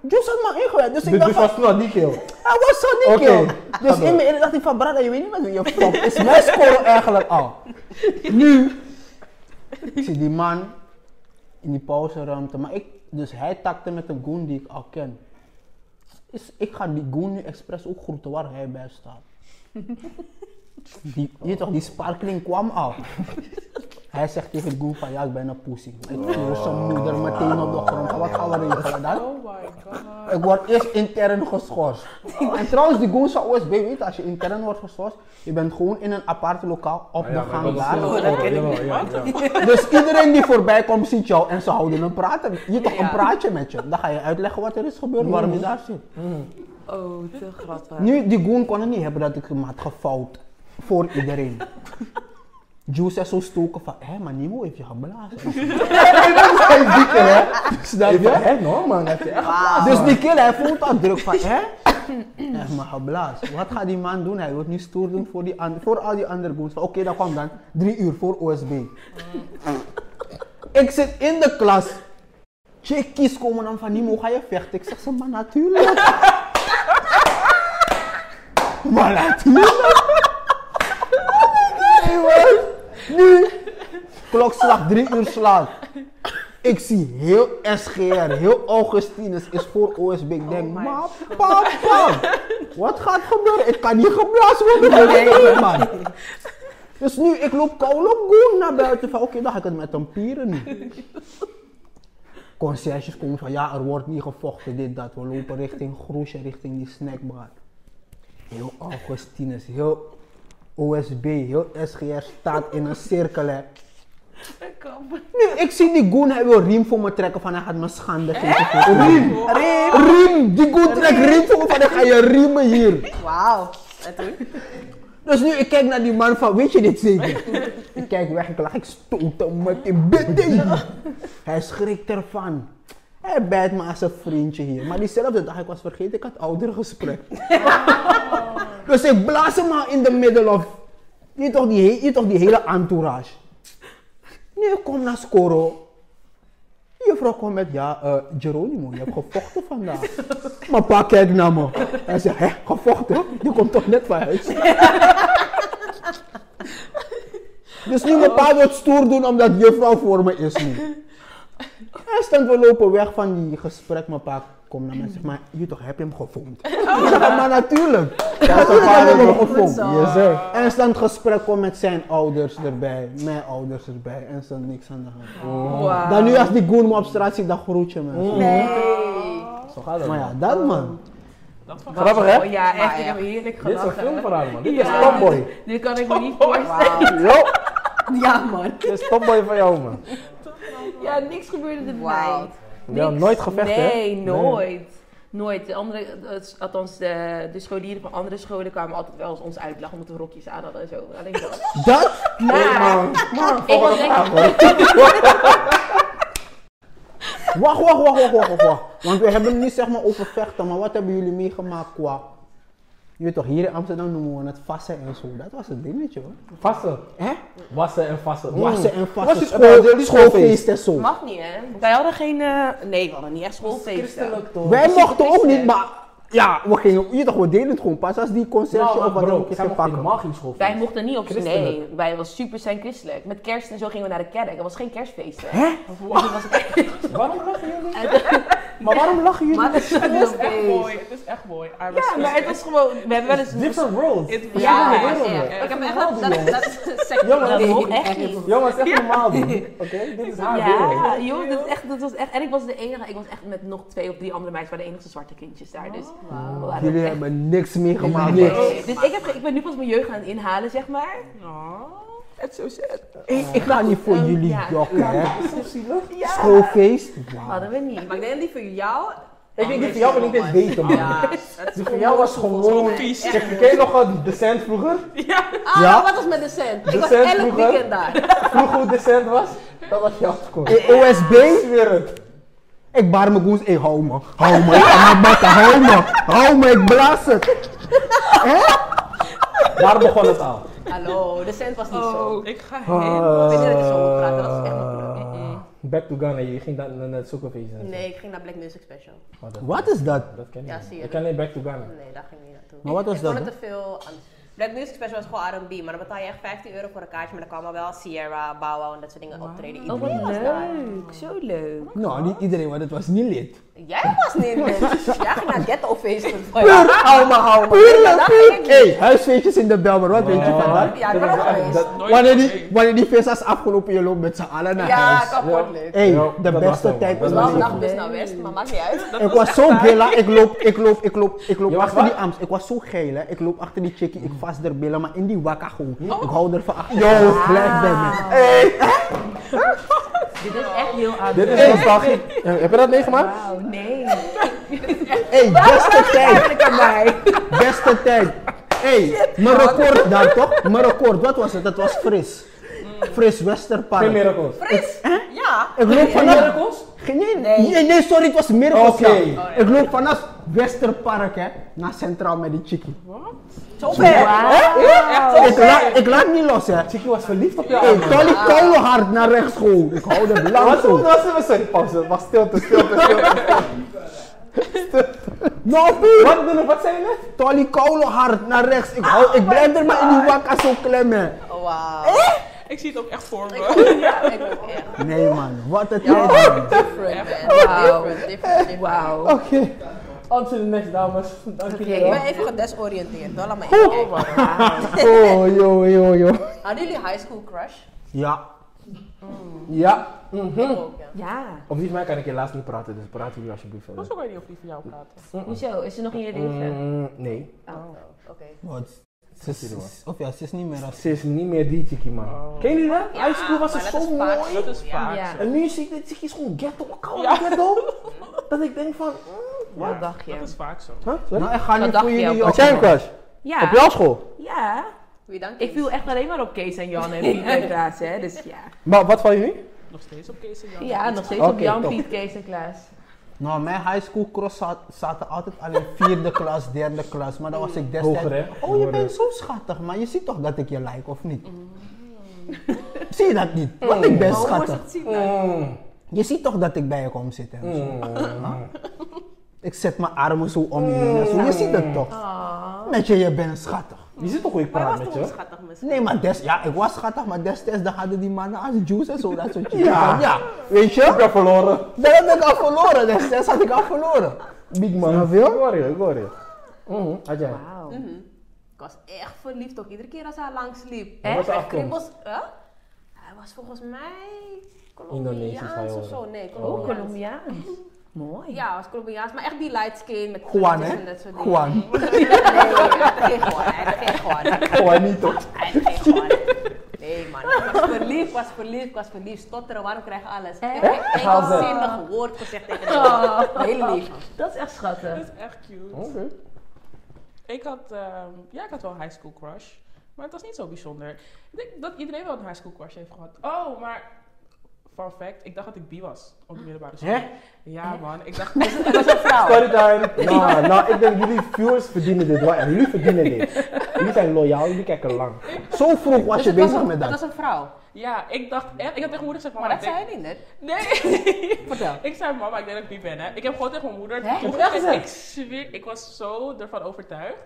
Speaker 4: Jules had me ingewijd, dus ik
Speaker 2: Dus
Speaker 4: dacht
Speaker 2: Juice
Speaker 4: van,
Speaker 2: was toen al niet heel.
Speaker 4: hij was zo niet
Speaker 2: Oké,
Speaker 4: joh.
Speaker 2: ga
Speaker 4: Dus
Speaker 2: door.
Speaker 4: in mijn ene dacht ik van, Brada, je weet niet wat je fokt. Is mijn score eigenlijk al? Nu, ik zie die man in die pauzeruimte, maar ik, dus hij takte met een goon die ik al ken. Dus ik ga die goon nu expres ook groeten waar hij bij staat. Die, je weet toch, die sparkling kwam al. Hij zegt tegen de goon van ja, ik ben een pussy. Ik voel zijn moeder meteen op de grond. Wat gaan we regelen dan?
Speaker 5: Oh my god.
Speaker 4: Ik word eerst intern geschorst. En trouwens, die goons van OSB weet, als je intern wordt geschorst, je bent gewoon in een apart lokaal
Speaker 5: Ah
Speaker 4: op de gang daar.
Speaker 2: Oh, dat ken ik niet.
Speaker 4: Dus iedereen die voorbij komt ziet jou en ze houden een praten. Je toch een praatje met je. Dan ga je uitleggen wat er is gebeurd, waarom je daar zit.
Speaker 1: Oh, te grappig.
Speaker 4: Nu, die goon kon het niet hebben dat ik hem had gevouwd voor iedereen. Juice is zo stoken van, hé, maar Nemo heeft je geblazen. dat is geen dikke, hè? Snap
Speaker 2: Ik
Speaker 4: je?
Speaker 2: dacht, hè, no man, heb je echt geplaatst.
Speaker 4: Dus die kill, hij voelt al druk van, hè? Hij heeft me geblazen. Wat gaat die man doen? Hij wordt nu stoer doen voor, die an- voor al die andere goons. Oké, dat kwam dan. Drie uur voor OSB. Ik zit in de klas. Chickies komen dan van, Nimo, ga je vechten? Ik zeg ze, maar natuurlijk. maar natuurlijk. Oh my God. Hey, man. Nu, klokslag drie uur slaat. Ik zie heel SGR, heel Augustinus is voor OSB. Ik denk,
Speaker 1: my
Speaker 4: maar pam, pam. Wat gaat gebeuren? Ik kan niet geblazen worden. Nee, man. Dus nu, ik loop Kowloon naar buiten. Van oké, dan ga ik het met een pieren nu. Conciërges komen van ja, er wordt niet gevochten, dit, dat. We lopen richting Groesje, richting die snackbar. Heel Augustinus, heel OSB, heel SGR staat in een cirkel. Hè. Nu, ik zie Nee, die goon, hij wil riem voor me trekken van hij gaat me schande geven. Riem, riem, riem. Die goon trekt riem voor me van dan ga je riemen hier.
Speaker 3: Wauw. En toen?
Speaker 4: Dus nu, ik kijk naar die man van, weet je dit zeker? ik kijk weg, ik lach, ik stoot hem met die bitting. hij schrikt ervan. Hij bijt me als een vriendje hier. Maar diezelfde dag, ik was vergeten, ik had oudergesprek. dus ik blaas hem al in de middel of... Je weet toch die, he- je weet toch die hele entourage. Nu, ik kom naar Scoro. Juffrouw kwam met, ja, eh Geronimo, je hebt gevochten vandaag. Mijn pa kijkt naar me. Hij zegt, hè, gevochten? Je komt toch net van huis? Dus nu mijn pa wordt stoer doen omdat juffrouw voor me is nu. Hij stond we lopen weg van die gesprek. Mijn pa komt naar mij en zegt, maar je toch, heb je hem gevonden? Ik zeg, maar natuurlijk. Oh. Natuurlijk heb ik hem gevonden.
Speaker 2: Je zegt.
Speaker 4: En stond gesprek kwam met zijn ouders erbij, mijn ouders erbij. En stond niks aan de hand.
Speaker 1: Wauw.
Speaker 4: Dan nu als die goon me op straat ziet, dan groet je me.
Speaker 1: Nee.
Speaker 2: Zo gaat dat.
Speaker 4: Maar ja, dat man.
Speaker 5: Dat van
Speaker 2: Grappig hè?
Speaker 1: Oh ja, echt.
Speaker 3: Maar
Speaker 1: Ik
Speaker 3: ja.
Speaker 1: heb heerlijk
Speaker 2: Dit is een
Speaker 1: gelachen.
Speaker 2: filmverhaal man. Dit is
Speaker 1: Ja.
Speaker 2: Tomboy.
Speaker 1: Dit kan ik me niet voorstellen.
Speaker 3: Wauw.
Speaker 2: Yo,
Speaker 3: Ja, man.
Speaker 2: dit is Tomboy van jou man.
Speaker 1: Ja, niks gebeurde er
Speaker 3: Wauw.
Speaker 1: mij.
Speaker 2: Ja,
Speaker 1: Niks.
Speaker 2: nooit gevechten, hè?
Speaker 1: Nee, nooit. Nooit. De andere, het- althans, de, de scholieren van andere scholen kwamen altijd wel eens ons uitlachen omdat we rokjes aan hadden en zo. Alleen dat.
Speaker 2: Dat?
Speaker 1: Maar-
Speaker 4: Oh,
Speaker 1: ik was echt...
Speaker 4: Wacht, wacht, wacht, wacht, wacht, wacht, wacht. Want we hebben het niet zeg maar over vechten, maar wat hebben jullie meegemaakt qua... Je weet toch, hier in Amsterdam noemen we het vassen en zo. Dat was het dingetje hoor.
Speaker 2: Vassen.
Speaker 4: Hè?
Speaker 2: Wassen en vassen.
Speaker 4: Wassen en vassen.
Speaker 2: Hmm. Was
Speaker 4: school- schoolfeest en zo.
Speaker 1: Mag niet, hè? Wij hadden geen... eh, Nee, we hadden niet echt schoolfeesten.
Speaker 2: Christelijk toch?
Speaker 4: Wij mochten ook
Speaker 1: christelijk.
Speaker 4: niet, maar... Ja, we gingen... Je weet toch, we deden het gewoon pas als die concertje
Speaker 2: Nou, maar
Speaker 4: of wat dan
Speaker 2: bro,
Speaker 4: ook is
Speaker 2: zij mochten
Speaker 4: pakken.
Speaker 2: helemaal geen schoolfeest.
Speaker 1: Wij mochten niet op Nee,
Speaker 2: Christelijk.
Speaker 1: wij was super zijn christelijk. Met kerst en zo gingen we naar de kerk. Er was geen kerstfeest. hè?
Speaker 4: Hè?
Speaker 1: Dus het was
Speaker 2: Waarom lachen jullie? maar waarom lachen jullie?
Speaker 3: Maar dat is
Speaker 5: Het is echt mooi, het is echt mooi. I
Speaker 1: Ja,
Speaker 5: respect
Speaker 1: maar het was gewoon. We hebben wel eens.
Speaker 2: Different world.
Speaker 5: it.
Speaker 3: Ja,
Speaker 5: It-
Speaker 3: ja,
Speaker 2: Ja,
Speaker 3: ja,
Speaker 2: ja.
Speaker 3: Ik heb echt dat, dat, dat is sec-
Speaker 2: Jongens,
Speaker 1: dat
Speaker 2: nee,
Speaker 1: mocht echt niet.
Speaker 2: Jongens, echt normaal doen. Oké, dit is haar wereld.
Speaker 1: Ja, joh, dat, is echt, dat was echt. En ik was de enige. Ik was echt met nog twee of drie andere meisjes. waren de enige zwarte kindjes daar. Dus, we waren
Speaker 4: Jullie
Speaker 1: ook echt-
Speaker 4: hebben niks meegemaakt.
Speaker 2: Jullie
Speaker 4: hoor.
Speaker 1: Nee, Dus ik, heb, ik ben nu pas mijn jeugd aan het inhalen, zeg maar.
Speaker 5: Oh.
Speaker 1: Het is zo sad.
Speaker 4: Ik, ik ga niet voor
Speaker 1: Ehm,
Speaker 4: jullie
Speaker 1: ja.
Speaker 4: jokken, hè.
Speaker 2: Zo zielig.
Speaker 4: Schoolfeest. Wauw.
Speaker 1: Hadden we niet.
Speaker 3: Maar ik denk die voor jou...
Speaker 2: Ik denk dat voor jou ben ik dit beter, man.
Speaker 3: dat is
Speaker 2: Die voor jou was gewoon...
Speaker 5: vies.
Speaker 2: Zeg, Ken je nog wat decent vroeger?
Speaker 3: Ah,
Speaker 4: Ja?
Speaker 3: wat was met de cent? Ik was
Speaker 2: cent
Speaker 3: elk
Speaker 2: vroeger.
Speaker 3: weekend daar.
Speaker 2: Vroeger hoe decent was? Dat was jouw score. Ik
Speaker 4: Eh, OSB?
Speaker 2: zweer het.
Speaker 4: Ik baar mijn goens, ik hou me, hou me, ik ga naar bakken, hou me, hou me, ik blaas het.
Speaker 2: Daar begon het al.
Speaker 3: Hallo, de cent was niet zo.
Speaker 5: Oh. Ik ga
Speaker 4: Ah.
Speaker 5: heen.
Speaker 1: Oh.
Speaker 3: Ik weet
Speaker 2: Eh,
Speaker 3: niet dat ik zo moet praten, dat is
Speaker 2: Oh.
Speaker 3: echt makkelijk. Mm-mm.
Speaker 2: Back to Ghana, je ging dan naar het zoekenfeest. en zo.
Speaker 3: Nee, ik ging naar Black Music Special.
Speaker 2: Maar dat-
Speaker 4: Wat is dat?
Speaker 2: Dat ken ik
Speaker 3: Ja,
Speaker 2: niet.
Speaker 3: zie je.
Speaker 2: Ik ken alleen Back to Ghana.
Speaker 3: Nee, daar ging ik niet naartoe.
Speaker 4: Maar wat was
Speaker 3: ik
Speaker 4: dat
Speaker 3: vond het
Speaker 4: dan?
Speaker 3: te veel. aan- Black Music Special was gewoon R&B, maar dan betaal je echt 15 euro voor een kaartje. Maar dan kwamen wel Sierra, Bow Wow en dat soort dingen optreden.
Speaker 1: Oh,
Speaker 3: Iedereen
Speaker 1: wat
Speaker 3: was daar.
Speaker 1: leuk. Zo leuk.
Speaker 4: Nou, niet iedereen, want het was niet lid.
Speaker 3: Jij was niet meer. Jij ging naar ghetto feesten.
Speaker 4: Puur, hou me, hou me.
Speaker 3: dat
Speaker 4: Puur,
Speaker 3: ken ik
Speaker 4: Hé, huisfeestjes in de Belmer, wat weet je van dat?
Speaker 2: Oh,
Speaker 3: Ja,
Speaker 2: dat
Speaker 3: dat
Speaker 2: is
Speaker 3: was
Speaker 2: echt-
Speaker 3: geweest.
Speaker 2: dat-
Speaker 5: Nooit
Speaker 4: Wanneer
Speaker 5: meer.
Speaker 4: die, wanneer die feest is afgelopen, je loopt met z'n allen naar
Speaker 3: Ja,
Speaker 4: huis.
Speaker 3: kapot leuk.
Speaker 4: Hé,
Speaker 2: Ja,
Speaker 4: de
Speaker 2: dat was
Speaker 4: beste
Speaker 2: ook
Speaker 4: tijd
Speaker 2: wel.
Speaker 4: was
Speaker 2: Dat
Speaker 3: Wel
Speaker 2: was
Speaker 4: mijn
Speaker 3: dag best naar West, maar maakt niet uit.
Speaker 4: Ik was zo gilla, ik loop, ik loop, ik loop, ik loop
Speaker 2: Je was
Speaker 4: achter die
Speaker 2: wat?
Speaker 4: arms. Ik was zo geil, hè. Ik loop achter die chickie, ik vast der billen, maar in die wakka gewoon. Ik hou er van achter. Yo, blijf bij me.
Speaker 1: Dit is echt heel aan.
Speaker 2: Dit is nostalgie. Eh, Heb je dat meegemaakt?
Speaker 1: Wauw, nee.
Speaker 4: Hey, beste tijd. Beste tijd. Hey, mijn record dan toch? Mijn record, wat was het? Dat was fris. Fris
Speaker 2: Geen
Speaker 4: Westerpark.
Speaker 2: miracles.
Speaker 3: Fris! Ja!
Speaker 4: Ik loop vanaf...
Speaker 2: Miracles?
Speaker 4: Geen- Nee, nee, nee, sorry, het was Miracles.
Speaker 2: Oké.
Speaker 4: ja. Ik loop vanaf Westerpark hè, naar Centraal met die chickie.
Speaker 3: Zo ver!
Speaker 4: Ik, la, ik laat niet los hè.
Speaker 2: Chickie was verliefd op jou.
Speaker 4: Hey, Tolly koude hard naar rechts gewoon. Ik hou er lang
Speaker 2: Wat
Speaker 4: zo.
Speaker 2: was er?
Speaker 3: Oh,
Speaker 2: Pauze. Was stilte, stilte, stilte.
Speaker 4: Nou puur.
Speaker 2: Wat doen we? Wat zijn we?
Speaker 4: Tolly koude hard naar rechts. Ik, hou, ik blijf er maar in die wakka zo klemmen.
Speaker 3: Wauw.
Speaker 5: Ik zie het ook echt voor me.
Speaker 3: Ja, ik ook echt.
Speaker 4: Nee man, wat een tijd man.
Speaker 3: Different, man. Wauw. Different, different, different.
Speaker 1: Wauw.
Speaker 2: Oké. On to the next, dames. Dank jullie
Speaker 3: Ik
Speaker 2: wel.
Speaker 3: ben even gedesoriënteerd, hoor. Laat me even kijken.
Speaker 4: Oh, yo, yo, yo.
Speaker 3: Hadden jullie high school crush?
Speaker 4: Ja.
Speaker 2: Ja.
Speaker 3: Ook,
Speaker 2: Mhm.
Speaker 3: Mm. Mm-hmm. ja.
Speaker 1: Ja.
Speaker 2: Op die van mij kan ik helaas niet praten, dus praat jullie alsjeblieft verder.
Speaker 5: Hoezo kan je niet over die van jou praten?
Speaker 1: Hoezo? Is ze nog in je leven?
Speaker 2: Mm, nee.
Speaker 3: Oké.
Speaker 4: Wat? Ze
Speaker 2: Zes uur,
Speaker 4: is, of ja, ze is niet meer als...
Speaker 2: Ze is niet meer die chickie, man. Ken jullie dat?
Speaker 3: Oh. Ja,
Speaker 2: High school was
Speaker 3: maar
Speaker 2: ze
Speaker 3: dat
Speaker 2: zo
Speaker 3: is vaak
Speaker 2: mooi.
Speaker 5: Dat is vaak
Speaker 1: Ja.
Speaker 5: zo.
Speaker 2: En nu zie ik dit chickie is gewoon ghetto. Koud
Speaker 5: Ja.
Speaker 2: ghetto. Dat ik denk van... mm,
Speaker 1: Wat dacht
Speaker 5: Dat
Speaker 1: je?
Speaker 5: is vaak zo.
Speaker 2: Huh? Sorry?
Speaker 4: Nou, ik ga
Speaker 1: Wat
Speaker 4: niet
Speaker 1: dacht
Speaker 4: voor
Speaker 1: je
Speaker 4: jullie
Speaker 1: ook?
Speaker 2: Had jij een
Speaker 4: jokken.
Speaker 2: crush? Op
Speaker 1: Ja.
Speaker 2: jouw school?
Speaker 1: Ja.
Speaker 3: Wie dank
Speaker 1: Ik viel echt alleen maar op Kees en Jan en Piet en Klaas, hè. Dus ja.
Speaker 2: Maar wat van jullie?
Speaker 5: Nog steeds op Kees en Jan.
Speaker 1: Ja, nog steeds
Speaker 3: Oh.
Speaker 2: Oké,
Speaker 1: op Jan,
Speaker 2: top.
Speaker 1: Piet, Kees en Klaas.
Speaker 4: Nou, mijn high school cross za- zaten altijd alleen vierde klas, derde klas. Maar dan was ik destijds...
Speaker 2: Hoger, hè?
Speaker 4: Oh, je
Speaker 2: Hoger. Mm.
Speaker 4: bent zo schattig, maar je ziet toch dat ik je like, of niet? Zie je dat niet? Want ik ben schattig.
Speaker 2: Mm.
Speaker 4: Je ziet toch dat ik bij je kom zitten. en zo.
Speaker 2: Mm.
Speaker 4: Ik zet mijn armen zo om je heen en zo. Je ziet het toch?
Speaker 2: Ah.
Speaker 4: Met je, je bent schattig.
Speaker 2: Je ziet toch hoe ik
Speaker 3: Maar
Speaker 2: praat
Speaker 3: was
Speaker 2: met
Speaker 3: toch
Speaker 2: je?
Speaker 3: schattig misschien?
Speaker 4: Nee, maar des, ja, ik was schattig, maar destijds dan hadden die mannen als juice en zo, dat soort shit.
Speaker 2: Ja.
Speaker 4: ja, weet je?
Speaker 2: Ik heb verloren.
Speaker 4: Dat heb ik al verloren, destijds had ik al verloren.
Speaker 2: Big man. Ik hoor je, ik hoor je. Nou, Mhm, Had jij?
Speaker 1: Wauw.
Speaker 3: Ik was echt verliefd ook. Iedere keer als hij langs liep.
Speaker 2: Wat was de
Speaker 3: Hij
Speaker 2: afkomst?
Speaker 3: kribbels- hè? Hij was volgens mij
Speaker 2: Indonesisch, ga je
Speaker 3: Colombiaans of zo.
Speaker 2: horen.
Speaker 3: Nee,
Speaker 1: Oh,
Speaker 3: Colombiaans.
Speaker 1: Colombiaans. Mooi.
Speaker 3: ja, hij was Colombiaans, maar echt die light skin met
Speaker 4: Juan,
Speaker 3: krulletjes en
Speaker 4: hè?
Speaker 3: dat soort dingen.
Speaker 4: Juan.
Speaker 3: Nee, hij had geen Juan, hij had geen Juan.
Speaker 2: Oh, hij niet toch?
Speaker 3: Hij had geen Juan. Nee man, ik was verliefd. verliefd, was verliefd, was verliefd. Stotteren, waarom krijg je alles?
Speaker 1: Echt?
Speaker 3: Ik heb geen
Speaker 2: Gaan ze.
Speaker 3: zinnig woord gezegd tegen hem. Mijn hele lief.
Speaker 1: Dat is echt schattig.
Speaker 5: Dat is echt cute.
Speaker 4: Oh.
Speaker 2: Oké.
Speaker 5: Ik had, ehm, ja, ik had wel een high school crush. Maar het was niet zo bijzonder. Ik denk dat iedereen wel een high school crush heeft gehad. Oh, maar... Fun fact, ik dacht dat ik bi was op de middelbare school.
Speaker 2: Hè?
Speaker 5: Ja, man. Ik dacht...
Speaker 3: Het was een vrouw.
Speaker 2: Storytime. Nou, nou, ik denk jullie viewers verdienen dit wel. En jullie verdienen dit. Jullie zijn loyaal, jullie kijken lang.
Speaker 4: Zo vroeg was
Speaker 3: Dus
Speaker 4: je
Speaker 3: het was
Speaker 4: bezig
Speaker 3: een-
Speaker 4: met
Speaker 3: Het
Speaker 4: dat.
Speaker 3: was een vrouw.
Speaker 5: Ja, ik dacht echt... Ik had tegen mijn moeder gezegd...
Speaker 3: Maar
Speaker 5: mama,
Speaker 3: dat
Speaker 5: ik denk-
Speaker 3: zei je niet net.
Speaker 5: Nee.
Speaker 3: Vertel.
Speaker 5: Ik zei, mama, ik denk dat ik bi ben, hè. Ik heb gewoon tegen mijn moeder...
Speaker 3: Hè?
Speaker 5: toen
Speaker 3: Wat dacht
Speaker 5: gezegd,
Speaker 3: ze?
Speaker 5: Ik zweer, ik was zo ervan overtuigd.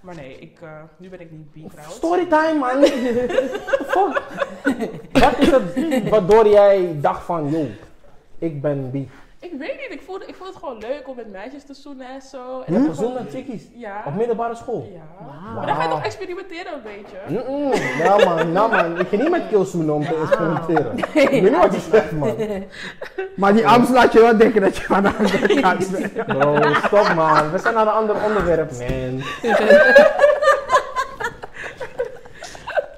Speaker 5: Maar nee, ik, eh, nu ben ik niet bi, trouwens.
Speaker 2: Storytime, man. Fuck. Wat is het waardoor jij dacht van, joh, ik ben bi.
Speaker 5: Ik weet niet, ik voelde, ik voelde het gewoon leuk om met meisjes te zoenen en zo.
Speaker 2: Je
Speaker 5: En
Speaker 2: hebt
Speaker 5: dat gewoon-
Speaker 2: gezoend met chickies.
Speaker 5: Ja.
Speaker 2: Op middelbare school.
Speaker 5: Ja. Maar
Speaker 2: Ah.
Speaker 5: dan ga je toch experimenteren een beetje.
Speaker 2: Mm-mm. Ja man, nou man, ik ging niet met killzoenen om te experimenteren. Ik weet niet wat je zegt man.
Speaker 4: Maar die arms laat je wel denken dat je aan de andere kant bent.
Speaker 2: Bro, stop man. We zijn naar een ander onderwerp, man.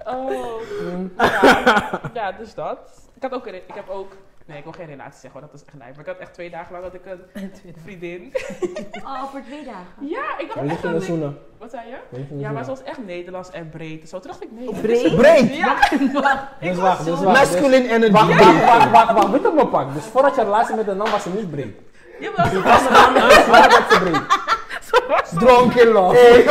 Speaker 5: Oh. Ja. ja, dus dat. Ik had ook, een re- ik heb ook, nee ik wil geen relatie zeggen, want dat is echt lijp. Maar ik had echt twee dagen lang dat ik een vriendin.
Speaker 3: Oh, voor twee dagen.
Speaker 5: Ja, ik dacht
Speaker 2: We
Speaker 5: echt
Speaker 2: gingen
Speaker 5: dat ik,
Speaker 2: zoenen.
Speaker 5: wat zei je?
Speaker 2: We gingen
Speaker 5: Ja, maar ze
Speaker 2: zoenen.
Speaker 5: was echt Nederlands en breed. en Zo toen dacht ik, nee.
Speaker 4: Breed!
Speaker 5: Ja,
Speaker 2: Dus wacht, dus wacht. dus-
Speaker 4: Masculine energy.
Speaker 2: Wacht, wacht, wacht, wacht, wacht. Weet je mijn pak? Dus voordat je relatie met een man was ze niet breed.
Speaker 5: jawel, ze
Speaker 2: Was ze dan dus voordat dat ze breed?
Speaker 5: ze was zo.
Speaker 4: Drunken love.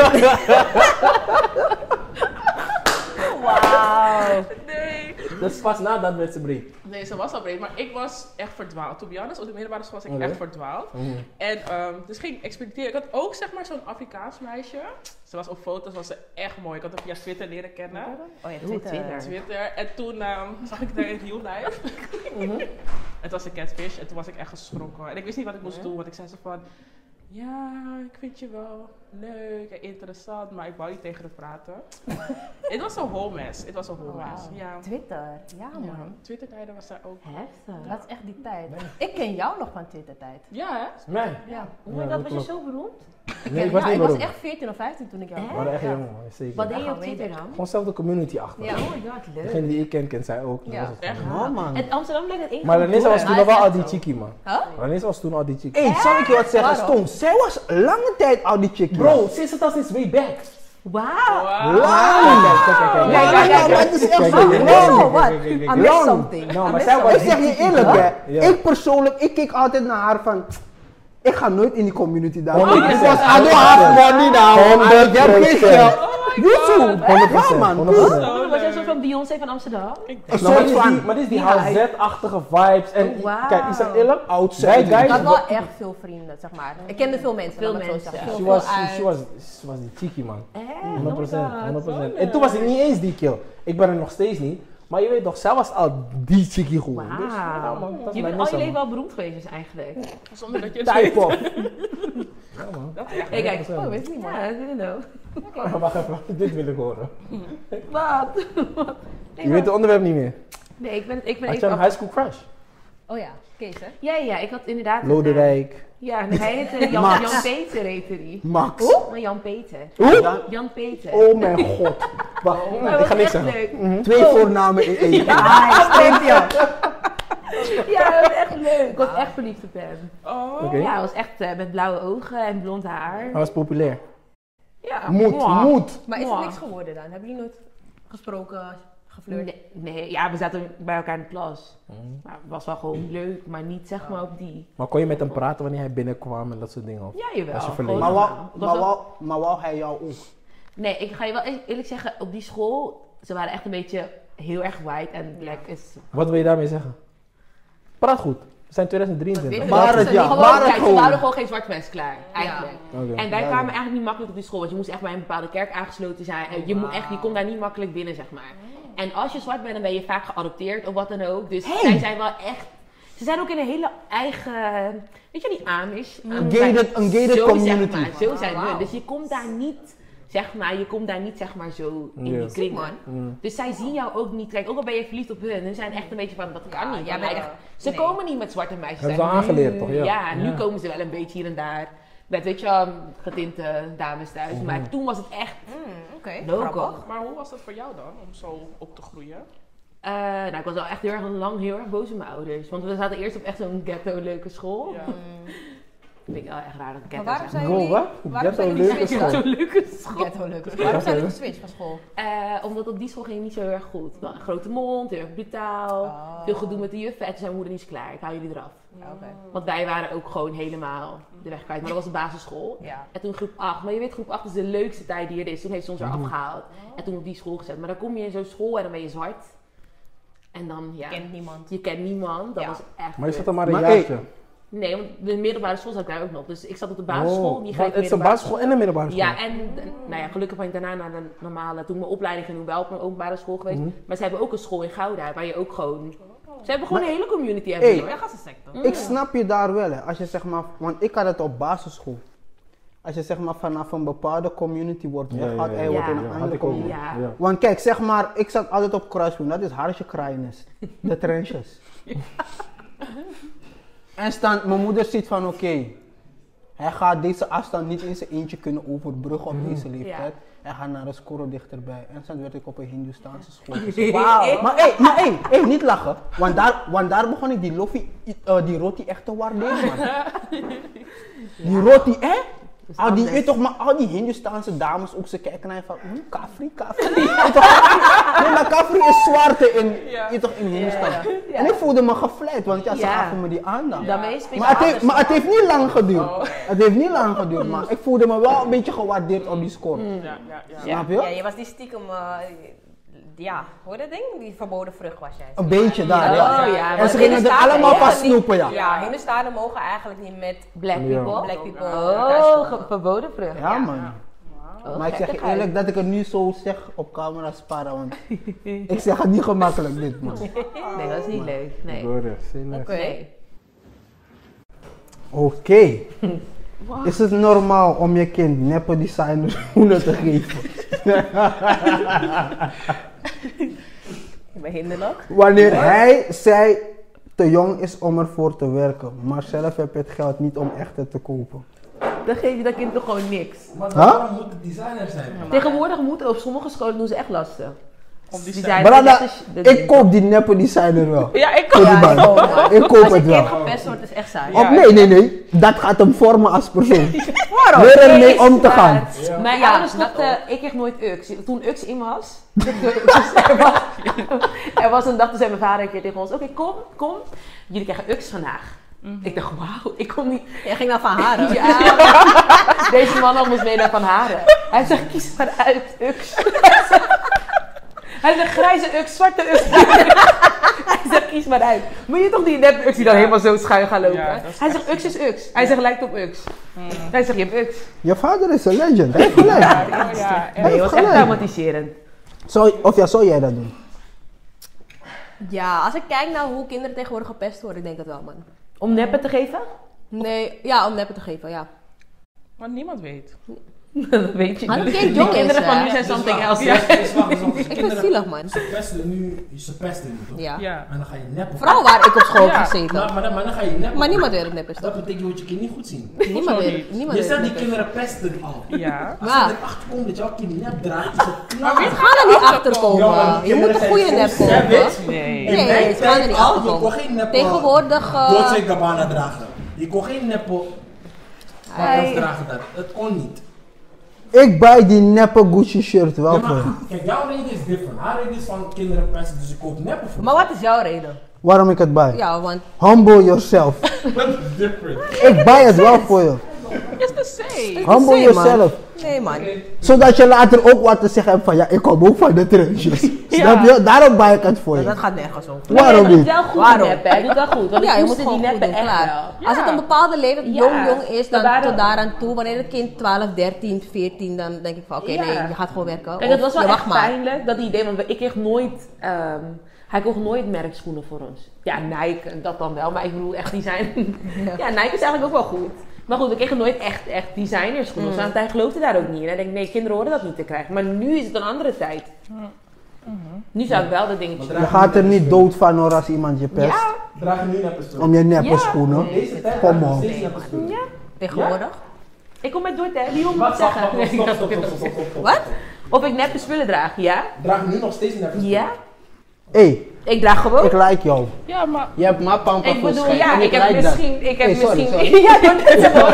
Speaker 3: Wauw.
Speaker 5: Nee.
Speaker 2: Dus pas nadat werd ze breed.
Speaker 5: Nee, ze was al breed, maar ik was echt verdwaald. To be honest, op de middelbare school was ik
Speaker 2: Oké.
Speaker 5: echt verdwaald. En ehm, dus ging ik experimenteren. Ik had ook zeg maar zo'n Afrikaans meisje. Ze was op foto's, was ze echt mooi. Ik had haar via Twitter leren kennen.
Speaker 3: Oh ja,
Speaker 1: Oeh,
Speaker 3: Twitter.
Speaker 1: Twitter.
Speaker 5: Twitter. En toen ehm, zag ik haar in real life. Het was een catfish en toen was ik echt geschrokken. En ik wist niet wat ik moest doen, want ik zei zo van... Ja, ik vind je wel leuk en interessant, maar ik wou niet tegen haar praten. Het was een whole mess. Het was een whole mess.
Speaker 3: Wauw.
Speaker 5: Ja.
Speaker 3: Twitter, ja
Speaker 5: ja.
Speaker 3: man.
Speaker 5: Twitter-tijden was daar ook.
Speaker 1: Heftig.
Speaker 3: Dat is echt die tijd. Ik ken jou nog van Twitter-tijd.
Speaker 5: Ja, hè?
Speaker 2: Nee.
Speaker 3: Ja.
Speaker 1: Oh my
Speaker 2: Ja,
Speaker 1: god,
Speaker 2: dat
Speaker 1: was je
Speaker 2: klopt.
Speaker 1: zo beroemd?
Speaker 2: Nee, ik was
Speaker 3: ja,
Speaker 2: niet
Speaker 3: ik was
Speaker 2: beroemd.
Speaker 3: echt 14 of 15 toen ik jou
Speaker 1: Hè?
Speaker 2: We
Speaker 3: kwam.
Speaker 2: waren
Speaker 3: Ja.
Speaker 2: echt jong, man,
Speaker 1: Wat
Speaker 2: zeker.
Speaker 1: deed je op
Speaker 3: Ja,
Speaker 1: Twitter dan?
Speaker 2: Gewoon zelfde community achter.
Speaker 3: Ja.
Speaker 1: Oh my god, leuk.
Speaker 2: Degene die ik ken, kent zij ook. Dat
Speaker 3: Ja.
Speaker 2: was het
Speaker 5: Echt?
Speaker 2: gewoon.
Speaker 4: Ja, man.
Speaker 1: Het Amsterdam lijkt het één
Speaker 2: Maar
Speaker 1: groot
Speaker 2: Renessa was
Speaker 1: dorp.
Speaker 2: toen nog wel
Speaker 3: Hij
Speaker 2: al
Speaker 3: is
Speaker 2: die
Speaker 3: echt zo.
Speaker 2: chickie, man.
Speaker 3: Huh?
Speaker 2: Renessa was toen al die chickie.
Speaker 4: Hé, zal ik je wat zeggen,
Speaker 3: Waarom?
Speaker 4: Stom? Zij was lange tijd al die chick.
Speaker 2: Bro, sinds het al sinds way back.
Speaker 1: Wauw.
Speaker 2: Ah.
Speaker 5: Wauw.
Speaker 4: Lang!
Speaker 2: Kijk, kijk, kijk, kijk.
Speaker 4: Lang,
Speaker 3: kijk,
Speaker 4: maar
Speaker 3: kijk.
Speaker 4: het is echt
Speaker 2: Kijk,
Speaker 4: zo
Speaker 2: kijk,
Speaker 4: lang.
Speaker 2: kijk,
Speaker 3: Oh, wat?
Speaker 2: kijk, kijk,
Speaker 3: I
Speaker 2: kijk.
Speaker 3: missed
Speaker 4: Lang.
Speaker 3: something.
Speaker 2: Nou,
Speaker 3: I
Speaker 2: maar
Speaker 3: missed
Speaker 2: zij was
Speaker 4: Ik zeg je eerlijk, hè.
Speaker 2: Ja.
Speaker 4: Ik persoonlijk, ik keek altijd naar haar van... Ik ga nooit in die community daar.
Speaker 2: Honderd
Speaker 4: Because
Speaker 2: procent.
Speaker 4: I don't have money now. I
Speaker 2: Honderd
Speaker 4: get geen
Speaker 2: procent.
Speaker 4: geld.
Speaker 5: Oh my
Speaker 4: YouTube.
Speaker 5: God.
Speaker 4: Ja,
Speaker 2: 100%.
Speaker 4: man.
Speaker 2: 100%.
Speaker 5: Zo
Speaker 1: Was jij
Speaker 5: leuk.
Speaker 1: zo van Beyoncé van Amsterdam?
Speaker 5: Ik
Speaker 4: Een
Speaker 2: Nou, maar
Speaker 4: soort
Speaker 2: dit is die,
Speaker 4: van...
Speaker 2: maar dit is die
Speaker 1: Ja, hij-
Speaker 2: HZ-achtige vibes. En
Speaker 1: Oh, wauw.
Speaker 2: kijk, ik zeg eerlijk,
Speaker 4: Oud
Speaker 2: wij
Speaker 3: Ik had
Speaker 2: guys,
Speaker 3: wel echt veel vrienden, zeg maar. Ik kende veel mensen.
Speaker 1: Veel
Speaker 3: laat ik het zo
Speaker 1: mensen.
Speaker 3: zeggen.
Speaker 2: she
Speaker 3: Veel
Speaker 2: was, she,
Speaker 3: uit.
Speaker 2: she was, she was die cheeky man.
Speaker 1: Eh,
Speaker 2: 100%, 100%.
Speaker 5: zo
Speaker 2: En toen was ik niet eens die kill. Ik ben er nog steeds niet. Maar je weet toch, zij was al die cheeky gewoon. Dus, ja, man,
Speaker 1: Wauw.
Speaker 2: dat is
Speaker 1: Je bent
Speaker 2: mijn
Speaker 1: al je
Speaker 2: misser,
Speaker 1: leven
Speaker 2: man.
Speaker 1: wel beroemd geweest dus eigenlijk.
Speaker 5: Zonder dat je het
Speaker 2: Type
Speaker 5: weet.
Speaker 2: op.
Speaker 5: Dat is echt-
Speaker 1: Hey, kijk.
Speaker 2: 100%.
Speaker 3: Oh, weet ik niet man.
Speaker 1: Ja, I don't know.
Speaker 2: Wacht even, dit wil ik horen.
Speaker 1: Wat?
Speaker 2: Je weet het onderwerp niet meer.
Speaker 1: Nee, ik ben, ik ben
Speaker 2: Had je
Speaker 1: even
Speaker 2: een high school crush?
Speaker 3: Oh ja, Kees hè?
Speaker 1: Ja, ja, ik had inderdaad... een,
Speaker 2: Lodewijk.
Speaker 1: eh, Ja, en hij heette Jan,
Speaker 4: Max.
Speaker 1: Jan Peter heette die.
Speaker 4: Max.
Speaker 1: Maar Jan Peter.
Speaker 4: Oeh.
Speaker 1: Jan Peter.
Speaker 2: Oh mijn god. Wacht,
Speaker 1: Maar het
Speaker 2: ik ga
Speaker 1: was
Speaker 2: niks
Speaker 1: echt
Speaker 2: zeggen.
Speaker 1: leuk.
Speaker 4: Twee voornamen in één. Nice, thank you.
Speaker 1: Ja, dat was echt leuk. Ik was echt verliefd op hem.
Speaker 5: Oh.
Speaker 2: Oké.
Speaker 1: Ja, hij was echt eh, met blauwe ogen en blond haar.
Speaker 2: Hij was populair.
Speaker 1: Ja.
Speaker 4: Moet,
Speaker 1: Mwah.
Speaker 4: moet.
Speaker 3: Maar is
Speaker 1: Mwah.
Speaker 3: er niks geworden dan? Hebben jullie nooit gesproken, geflirt?
Speaker 1: Nee, nee, ja, we zaten bij elkaar in de klas.
Speaker 4: Hmm.
Speaker 1: Maar het was wel gewoon leuk, maar niet zeg maar op die.
Speaker 2: Maar kon je met hem praten wanneer hij binnenkwam en dat soort dingen? Of?
Speaker 1: Ja, jawel.
Speaker 2: Was je
Speaker 1: gewoon
Speaker 2: verlegen?
Speaker 4: Maar
Speaker 1: normaal.
Speaker 4: wou,
Speaker 1: Het was
Speaker 4: maar,
Speaker 1: wel-
Speaker 4: wou, maar wou hij jou ook?
Speaker 1: Nee, ik ga je wel eer- eerlijk zeggen, op die school, ze waren echt een beetje heel erg white en black is...
Speaker 2: Wat wil je daarmee zeggen? Praat goed. We zijn 2023.
Speaker 1: Witte
Speaker 4: Maar
Speaker 1: mensen,
Speaker 4: het ja,
Speaker 1: gewoon-
Speaker 4: maar het
Speaker 1: kijk, ze
Speaker 4: gewoon.
Speaker 1: waren gewoon geen zwart mens klaar, eigenlijk.
Speaker 2: Oké.
Speaker 1: En wij kwamen eigenlijk niet makkelijk op die school, want je moest echt bij een bepaalde kerk aangesloten zijn. En je, moet echt, je komt daar niet makkelijk binnen, zeg maar. En als je zwart bent, dan ben je vaak geadopteerd of wat dan ook. Dus zij zijn wel echt... Ze zijn ook in een hele eigen... Weet je, die Amish? Amish zijn-
Speaker 4: gated- een gated
Speaker 1: zo,
Speaker 4: community.
Speaker 1: Zeg maar, zo zijn
Speaker 3: Wauw.
Speaker 1: hun. Dus je komt daar niet... Zeg maar, je komt daar niet zeg maar zo in
Speaker 2: Ja.
Speaker 1: die kring.
Speaker 3: man.
Speaker 2: Mm.
Speaker 1: Dus zij zien jou ook niet. Kijk, ook al ben je verliefd op hun, hun zijn echt een beetje van, dat kan
Speaker 3: Ja,
Speaker 1: niet.
Speaker 3: jij
Speaker 1: want
Speaker 3: bent
Speaker 1: hij-
Speaker 3: echt-
Speaker 1: ze
Speaker 3: nee.
Speaker 1: komen niet met zwarte meisjes.
Speaker 2: Hebben ze
Speaker 1: En
Speaker 2: al aangeleerd,
Speaker 1: nu-
Speaker 2: toch? Ja.
Speaker 1: ja, nu
Speaker 2: Ja.
Speaker 1: komen ze wel een beetje hier en daar. Met, weet je wel, getinte dames thuis.
Speaker 2: Mhm.
Speaker 1: Maar toen was het echt
Speaker 3: Mm, Oké,
Speaker 1: loco.
Speaker 3: grappig.
Speaker 5: Maar hoe was dat voor jou dan, om zo op te groeien?
Speaker 1: Ehm, Eh, nou, ik was wel echt heel erg lang heel erg boos op mijn ouders. Want we zaten eerst op echt zo'n ghetto-leuke school.
Speaker 5: Ja.
Speaker 1: Ehm, Vind ik wel echt raar dat ghetto
Speaker 3: Maar waarom
Speaker 1: zijn.
Speaker 3: zijn
Speaker 6: Bro,
Speaker 3: jullie...
Speaker 6: wat?
Speaker 3: Waarom zijn
Speaker 6: Ghetto
Speaker 3: jullie
Speaker 6: leuke
Speaker 3: switchen?
Speaker 6: school.
Speaker 1: Zo'n leuke school.
Speaker 3: Ghetto leuk. Waarom zijn jullie geswitcht van school?
Speaker 1: Eh, omdat op die school ging het niet zo heel erg goed. Wel een grote mond, heel erg brutaal.
Speaker 3: Oh.
Speaker 1: Veel gedoe met de juffen. En toen zei mijn moeder, niet is klaar, ik haal jullie eraf.
Speaker 3: Ja, Oké.
Speaker 1: Want wij waren ook gewoon helemaal de weg kwijt. Maar dat was de basisschool.
Speaker 3: Ja.
Speaker 1: En toen groep 8. Maar je weet, groep 8 is de leukste tijd die er is. Toen heeft ze ons eraf gehaald. En toen op die school gezet. Maar dan kom je in zo'n school en dan ben je zwart. En dan, ja.
Speaker 3: Kent niemand.
Speaker 1: Je kent niemand. Dat
Speaker 3: Ja.
Speaker 1: was echt
Speaker 6: Maar je zat
Speaker 1: kut.
Speaker 6: dan maar een
Speaker 4: Maar,
Speaker 6: jaartje.
Speaker 1: Nee, want de middelbare school zat ik daar ook nog. Dus ik zat op de basisschool.
Speaker 6: Oh,
Speaker 1: die
Speaker 6: want
Speaker 1: ging
Speaker 6: het is een basisschool en een middelbare school.
Speaker 1: Ja, en eh, nou ja, gelukkig ben ik daarna naar de normale, toen ik mijn opleiding ging doen, wel op een openbare school geweest.
Speaker 2: Mhm.
Speaker 1: Maar ze hebben ook een school in Gouda, waar je ook gewoon... Ze hebben gewoon een hele community hebben
Speaker 4: Hey.
Speaker 1: hoor.
Speaker 3: Ja, gassensector.
Speaker 4: Ik snap je daar wel, hè. Als je zeg maar, want ik had het op basisschool. Als je zeg maar vanaf een bepaalde community wordt
Speaker 6: Ja, ja,
Speaker 4: weggehaald en je
Speaker 1: ja.
Speaker 4: wordt in
Speaker 1: Ja,
Speaker 4: een
Speaker 6: had
Speaker 4: andere
Speaker 6: ik ook.
Speaker 4: community.
Speaker 1: Ja.
Speaker 6: Ja.
Speaker 4: Want kijk, zeg maar, ik zat altijd op kruispunt. Dat is harsje kraaienis. De trenches. en stand, mijn moeder ziet van, oké, hij gaat deze afstand niet in zijn eentje kunnen overbruggen op deze leeftijd. Hij gaat naar een school dichterbij. En dan werd ik op een Hindoestaanse school. gezet.
Speaker 1: Wauw.
Speaker 4: Maar hé, maar hé, hé, niet lachen. Want daar, want daar begon ik die, loffie, eh, die roti echt te waarderen, man. Die roti, hè? Al die, weet toch, maar al die Hindustaanse dames ook, ze kijken naar je van, hm, kafri, kafri. Weet toch? nee, maar kafri is zwarte in,
Speaker 5: Ja.
Speaker 4: weet toch, in Hindustan. En ik voelde me gevleid, want ja, ze
Speaker 1: Ja.
Speaker 4: gaven me die aandacht.
Speaker 1: Dan ben je speciaal
Speaker 4: Maar, het heeft,
Speaker 1: anders.
Speaker 4: maar het heeft niet lang geduurd. Het heeft niet lang geduurd, maar ik voelde me wel een beetje gewaardeerd op die score.
Speaker 5: Ja, ja, Mm. ja.
Speaker 4: Snap je?
Speaker 3: Ja, je was die stiekem... eh, ja, hoor je dat ding? Die verboden vrucht was jij.
Speaker 4: Een beetje daar, ja.
Speaker 1: Oh ja,
Speaker 4: En
Speaker 1: maar
Speaker 4: ze gingen er
Speaker 3: Hindustanen
Speaker 4: allemaal van
Speaker 3: mogen niet-
Speaker 4: snoepen, ja.
Speaker 3: Ja, Hindustanen mogen eigenlijk niet met
Speaker 1: black
Speaker 6: Ja.
Speaker 1: people.
Speaker 3: black people. daar
Speaker 1: Oh,
Speaker 3: stoppen.
Speaker 1: ge- verboden vrucht.
Speaker 4: Ja, man.
Speaker 1: Oh,
Speaker 4: Maar ik zeg je
Speaker 1: gekkigheid.
Speaker 4: eerlijk dat ik het nu zo zeg op camera sparen, want ik zeg het niet gemakkelijk dit, man.
Speaker 1: Nee, dat is niet leuk. Nee.
Speaker 6: Door de zinnen.
Speaker 3: Oké.
Speaker 1: Nee.
Speaker 4: Oké. Is het normaal om je kind neppe designer schoenen te geven?
Speaker 3: Bij hinderlijk.
Speaker 4: Wanneer hij, zij te jong is om ervoor te werken, maar zelf heb je het geld niet om echte te kopen.
Speaker 1: Dan geef je dat kind toch gewoon niks.
Speaker 6: Maar
Speaker 4: waarom
Speaker 6: moet het designer zijn?
Speaker 1: Tegenwoordig moeten op sommige scholen doen ze echt lastig.
Speaker 5: Om die
Speaker 1: Die
Speaker 5: stem.
Speaker 1: zijn
Speaker 4: Brada,
Speaker 1: dat is- dat is-
Speaker 4: nou- ik koop die neppe designer wel.
Speaker 5: Ja, ik
Speaker 4: Voor
Speaker 5: kan.
Speaker 4: die man. Ik koop
Speaker 3: Als je
Speaker 4: het wel.
Speaker 3: kind gepest wordt, is echt saai.
Speaker 5: Ja.
Speaker 4: Of nee, nee, nee. Dat gaat hem vormen als persoon.
Speaker 3: Waarom?
Speaker 4: Leer
Speaker 3: Nee,
Speaker 4: ermee
Speaker 3: is
Speaker 4: om te
Speaker 3: waar.
Speaker 4: gaan.
Speaker 1: Mijn
Speaker 3: Ja,
Speaker 1: ouders
Speaker 3: dat
Speaker 1: dachten, ik kreeg nooit UX. Toen UX in was, er was, er was een dag, toen zei mijn vader een keer tegen ons, oké, kom, kom, jullie krijgen UX vandaag. Ik dacht, wauw, ik kom niet.
Speaker 3: Mhm. Jij ging dan van haar. Ja.
Speaker 1: Ja, deze man nam ons mee naar Van Haren. Hij zegt, kies maar uit, UX. Hij zegt, grijze UX, zwarte UX. Hij zegt, kies maar uit. Moet je toch die nep UX die dan
Speaker 5: Ja.
Speaker 1: helemaal zo schuin gaan lopen?
Speaker 5: Ja, dat is
Speaker 1: Hij zegt, UX is UX. Hij zegt, lijkt op UX. Hij zegt, je hebt UX.
Speaker 4: Je vader is een legend. Hij heeft gelijk.
Speaker 5: Oh, ja. En
Speaker 4: Hij
Speaker 1: Nee,
Speaker 4: heeft
Speaker 1: was echt
Speaker 4: gelijk.
Speaker 1: traumatiserend.
Speaker 4: Zou, of ja, zou jij dat doen?
Speaker 3: ja, als ik kijk naar hoe kinderen tegenwoordig gepest worden, ik denk dat wel, man.
Speaker 1: Om neppen te geven?
Speaker 3: Nee, ja, om neppen te geven, ja.
Speaker 5: Maar niemand weet.
Speaker 1: Dat weet je
Speaker 3: Maar dat
Speaker 1: niet.
Speaker 3: kind jong is,
Speaker 1: kinderen van
Speaker 3: hè.
Speaker 1: nu zijn something else.
Speaker 5: Ja.
Speaker 6: dus
Speaker 3: Ik vind het zielig, man.
Speaker 2: Ze pesten nu, ze pesten nu toch?
Speaker 3: Ja.
Speaker 5: Ja.
Speaker 2: En dan ga je neppen.
Speaker 3: Vooral waar ik op school heb
Speaker 5: Ja.
Speaker 2: Maar,
Speaker 3: gezeten.
Speaker 2: maar, dan, maar dan ga je neppen.
Speaker 3: Maar niemand weet dat nep is,
Speaker 2: Dat
Speaker 3: toch?
Speaker 2: betekent je moet je kind niet goed zien.
Speaker 3: Niemand
Speaker 5: Hoezo
Speaker 3: weet
Speaker 5: niet?
Speaker 3: niemand
Speaker 2: Je
Speaker 3: weet dat
Speaker 2: staat die
Speaker 3: nep is.
Speaker 2: kinderen pesten al.
Speaker 5: Ja.
Speaker 2: Als je
Speaker 3: Ja.
Speaker 2: erachter komt dat jouw kind nep draait, is het klaar.
Speaker 3: We gaan er niet achter
Speaker 2: maar
Speaker 3: komen.
Speaker 2: die
Speaker 3: Je moet
Speaker 2: kinderen
Speaker 3: een
Speaker 2: zijn
Speaker 3: goede
Speaker 2: zo
Speaker 3: nep kopen.
Speaker 2: savage.
Speaker 5: Nee.
Speaker 2: In
Speaker 3: Nee,
Speaker 2: mijn
Speaker 3: het kan er
Speaker 2: tijd
Speaker 3: niet
Speaker 2: al,
Speaker 3: achter
Speaker 2: je kon
Speaker 3: komen.
Speaker 2: geen neppen.
Speaker 3: Tegenwoordig... eh,
Speaker 2: Dolce Gabbana dragen. Je kon geen neppen. Hey. dragen dat. Het kon niet.
Speaker 4: Ik bij die neppe Gucci shirt wel
Speaker 2: Ja, maar
Speaker 4: voor.
Speaker 2: kijk, jouw reden is different. Haar reden is van kinderen pesten, dus ik koop neppen voor.
Speaker 3: Maar wat is jouw reden?
Speaker 4: Waarom ik het bij?
Speaker 3: Ja, want...
Speaker 4: Humble yourself.
Speaker 2: Dat is different.
Speaker 4: ik bij het wel voor je.
Speaker 5: It's the same.
Speaker 4: Humble
Speaker 3: Zee, man.
Speaker 4: yourself.
Speaker 3: Nee, man.
Speaker 4: Zodat je later ook wat te zeggen hebt van ja, ik kom ook van de trenches. Snap je? Daarom bij ik het voor je.
Speaker 3: Dat gaat nergens over.
Speaker 4: Waarom
Speaker 1: doet
Speaker 4: niet?
Speaker 1: wel goed
Speaker 3: Waarom?
Speaker 1: neppen. Hij doet wel goed. Want
Speaker 3: Ja,
Speaker 1: ik
Speaker 3: je
Speaker 1: moest
Speaker 3: moet
Speaker 1: die
Speaker 3: gewoon goed
Speaker 1: neppen
Speaker 3: doen,
Speaker 1: echt
Speaker 3: klaar.
Speaker 1: wel.
Speaker 5: Ja.
Speaker 3: Als het een bepaalde leeftijd
Speaker 1: Ja.
Speaker 3: jong jong is, dan
Speaker 1: Dan waren-
Speaker 3: tot daaraan toe. Wanneer het kind 12, 13, 14, dan denk ik van oké,
Speaker 1: Ja.
Speaker 3: nee, je gaat gewoon werken.
Speaker 1: Kijk, dat
Speaker 3: Of
Speaker 1: was wel
Speaker 3: je
Speaker 1: echt
Speaker 3: wacht maar.
Speaker 1: pijnlijk, dat idee. Want ik kreeg nooit... ehm, hij kocht nooit merkschoenen voor ons. Ja, Nike, en dat dan wel. Maar ik bedoel, echt design... Ja, Nike is eigenlijk ook wel goed. Maar goed, we kregen nooit echt, echt designerschoenen. Want hij geloofde daar ook niet in. Hij denkt, nee, kinderen horen dat niet te krijgen. Maar nu is het een andere tijd. Nu zou ik wel dat dingetje...
Speaker 4: Je gaat er niet dood van hoor als iemand je pest.
Speaker 1: Ja,
Speaker 2: Draag je nu neppen zo.
Speaker 4: Om je neppe
Speaker 1: Ja.
Speaker 4: schoenen.
Speaker 2: Deze tijd
Speaker 4: Kom
Speaker 2: dragen
Speaker 4: op.
Speaker 2: nog steeds neppen schoenen.
Speaker 3: Tegenwoordig.
Speaker 1: ik kom met Dordt, hè. Wie moet ik
Speaker 2: Wat?
Speaker 1: het zeggen?
Speaker 2: Stop, stop, stop, stop, stop, stop, stop, stop, stop.
Speaker 3: Wat?
Speaker 1: Of ik neppe spullen draag, ja?
Speaker 2: Draag nu nog steeds neppen schoenen.
Speaker 1: Ja?
Speaker 4: Hé,
Speaker 1: Ik draag gewoon.
Speaker 4: ik like jou.
Speaker 5: Ja, maar
Speaker 4: Je hebt mijn pampers
Speaker 1: Ik bedoel, ja, ik heb
Speaker 4: like dat.
Speaker 1: misschien. Ik heb
Speaker 4: Hey, sorry,
Speaker 1: misschien.
Speaker 4: sorry.
Speaker 1: Ja, doe net zo.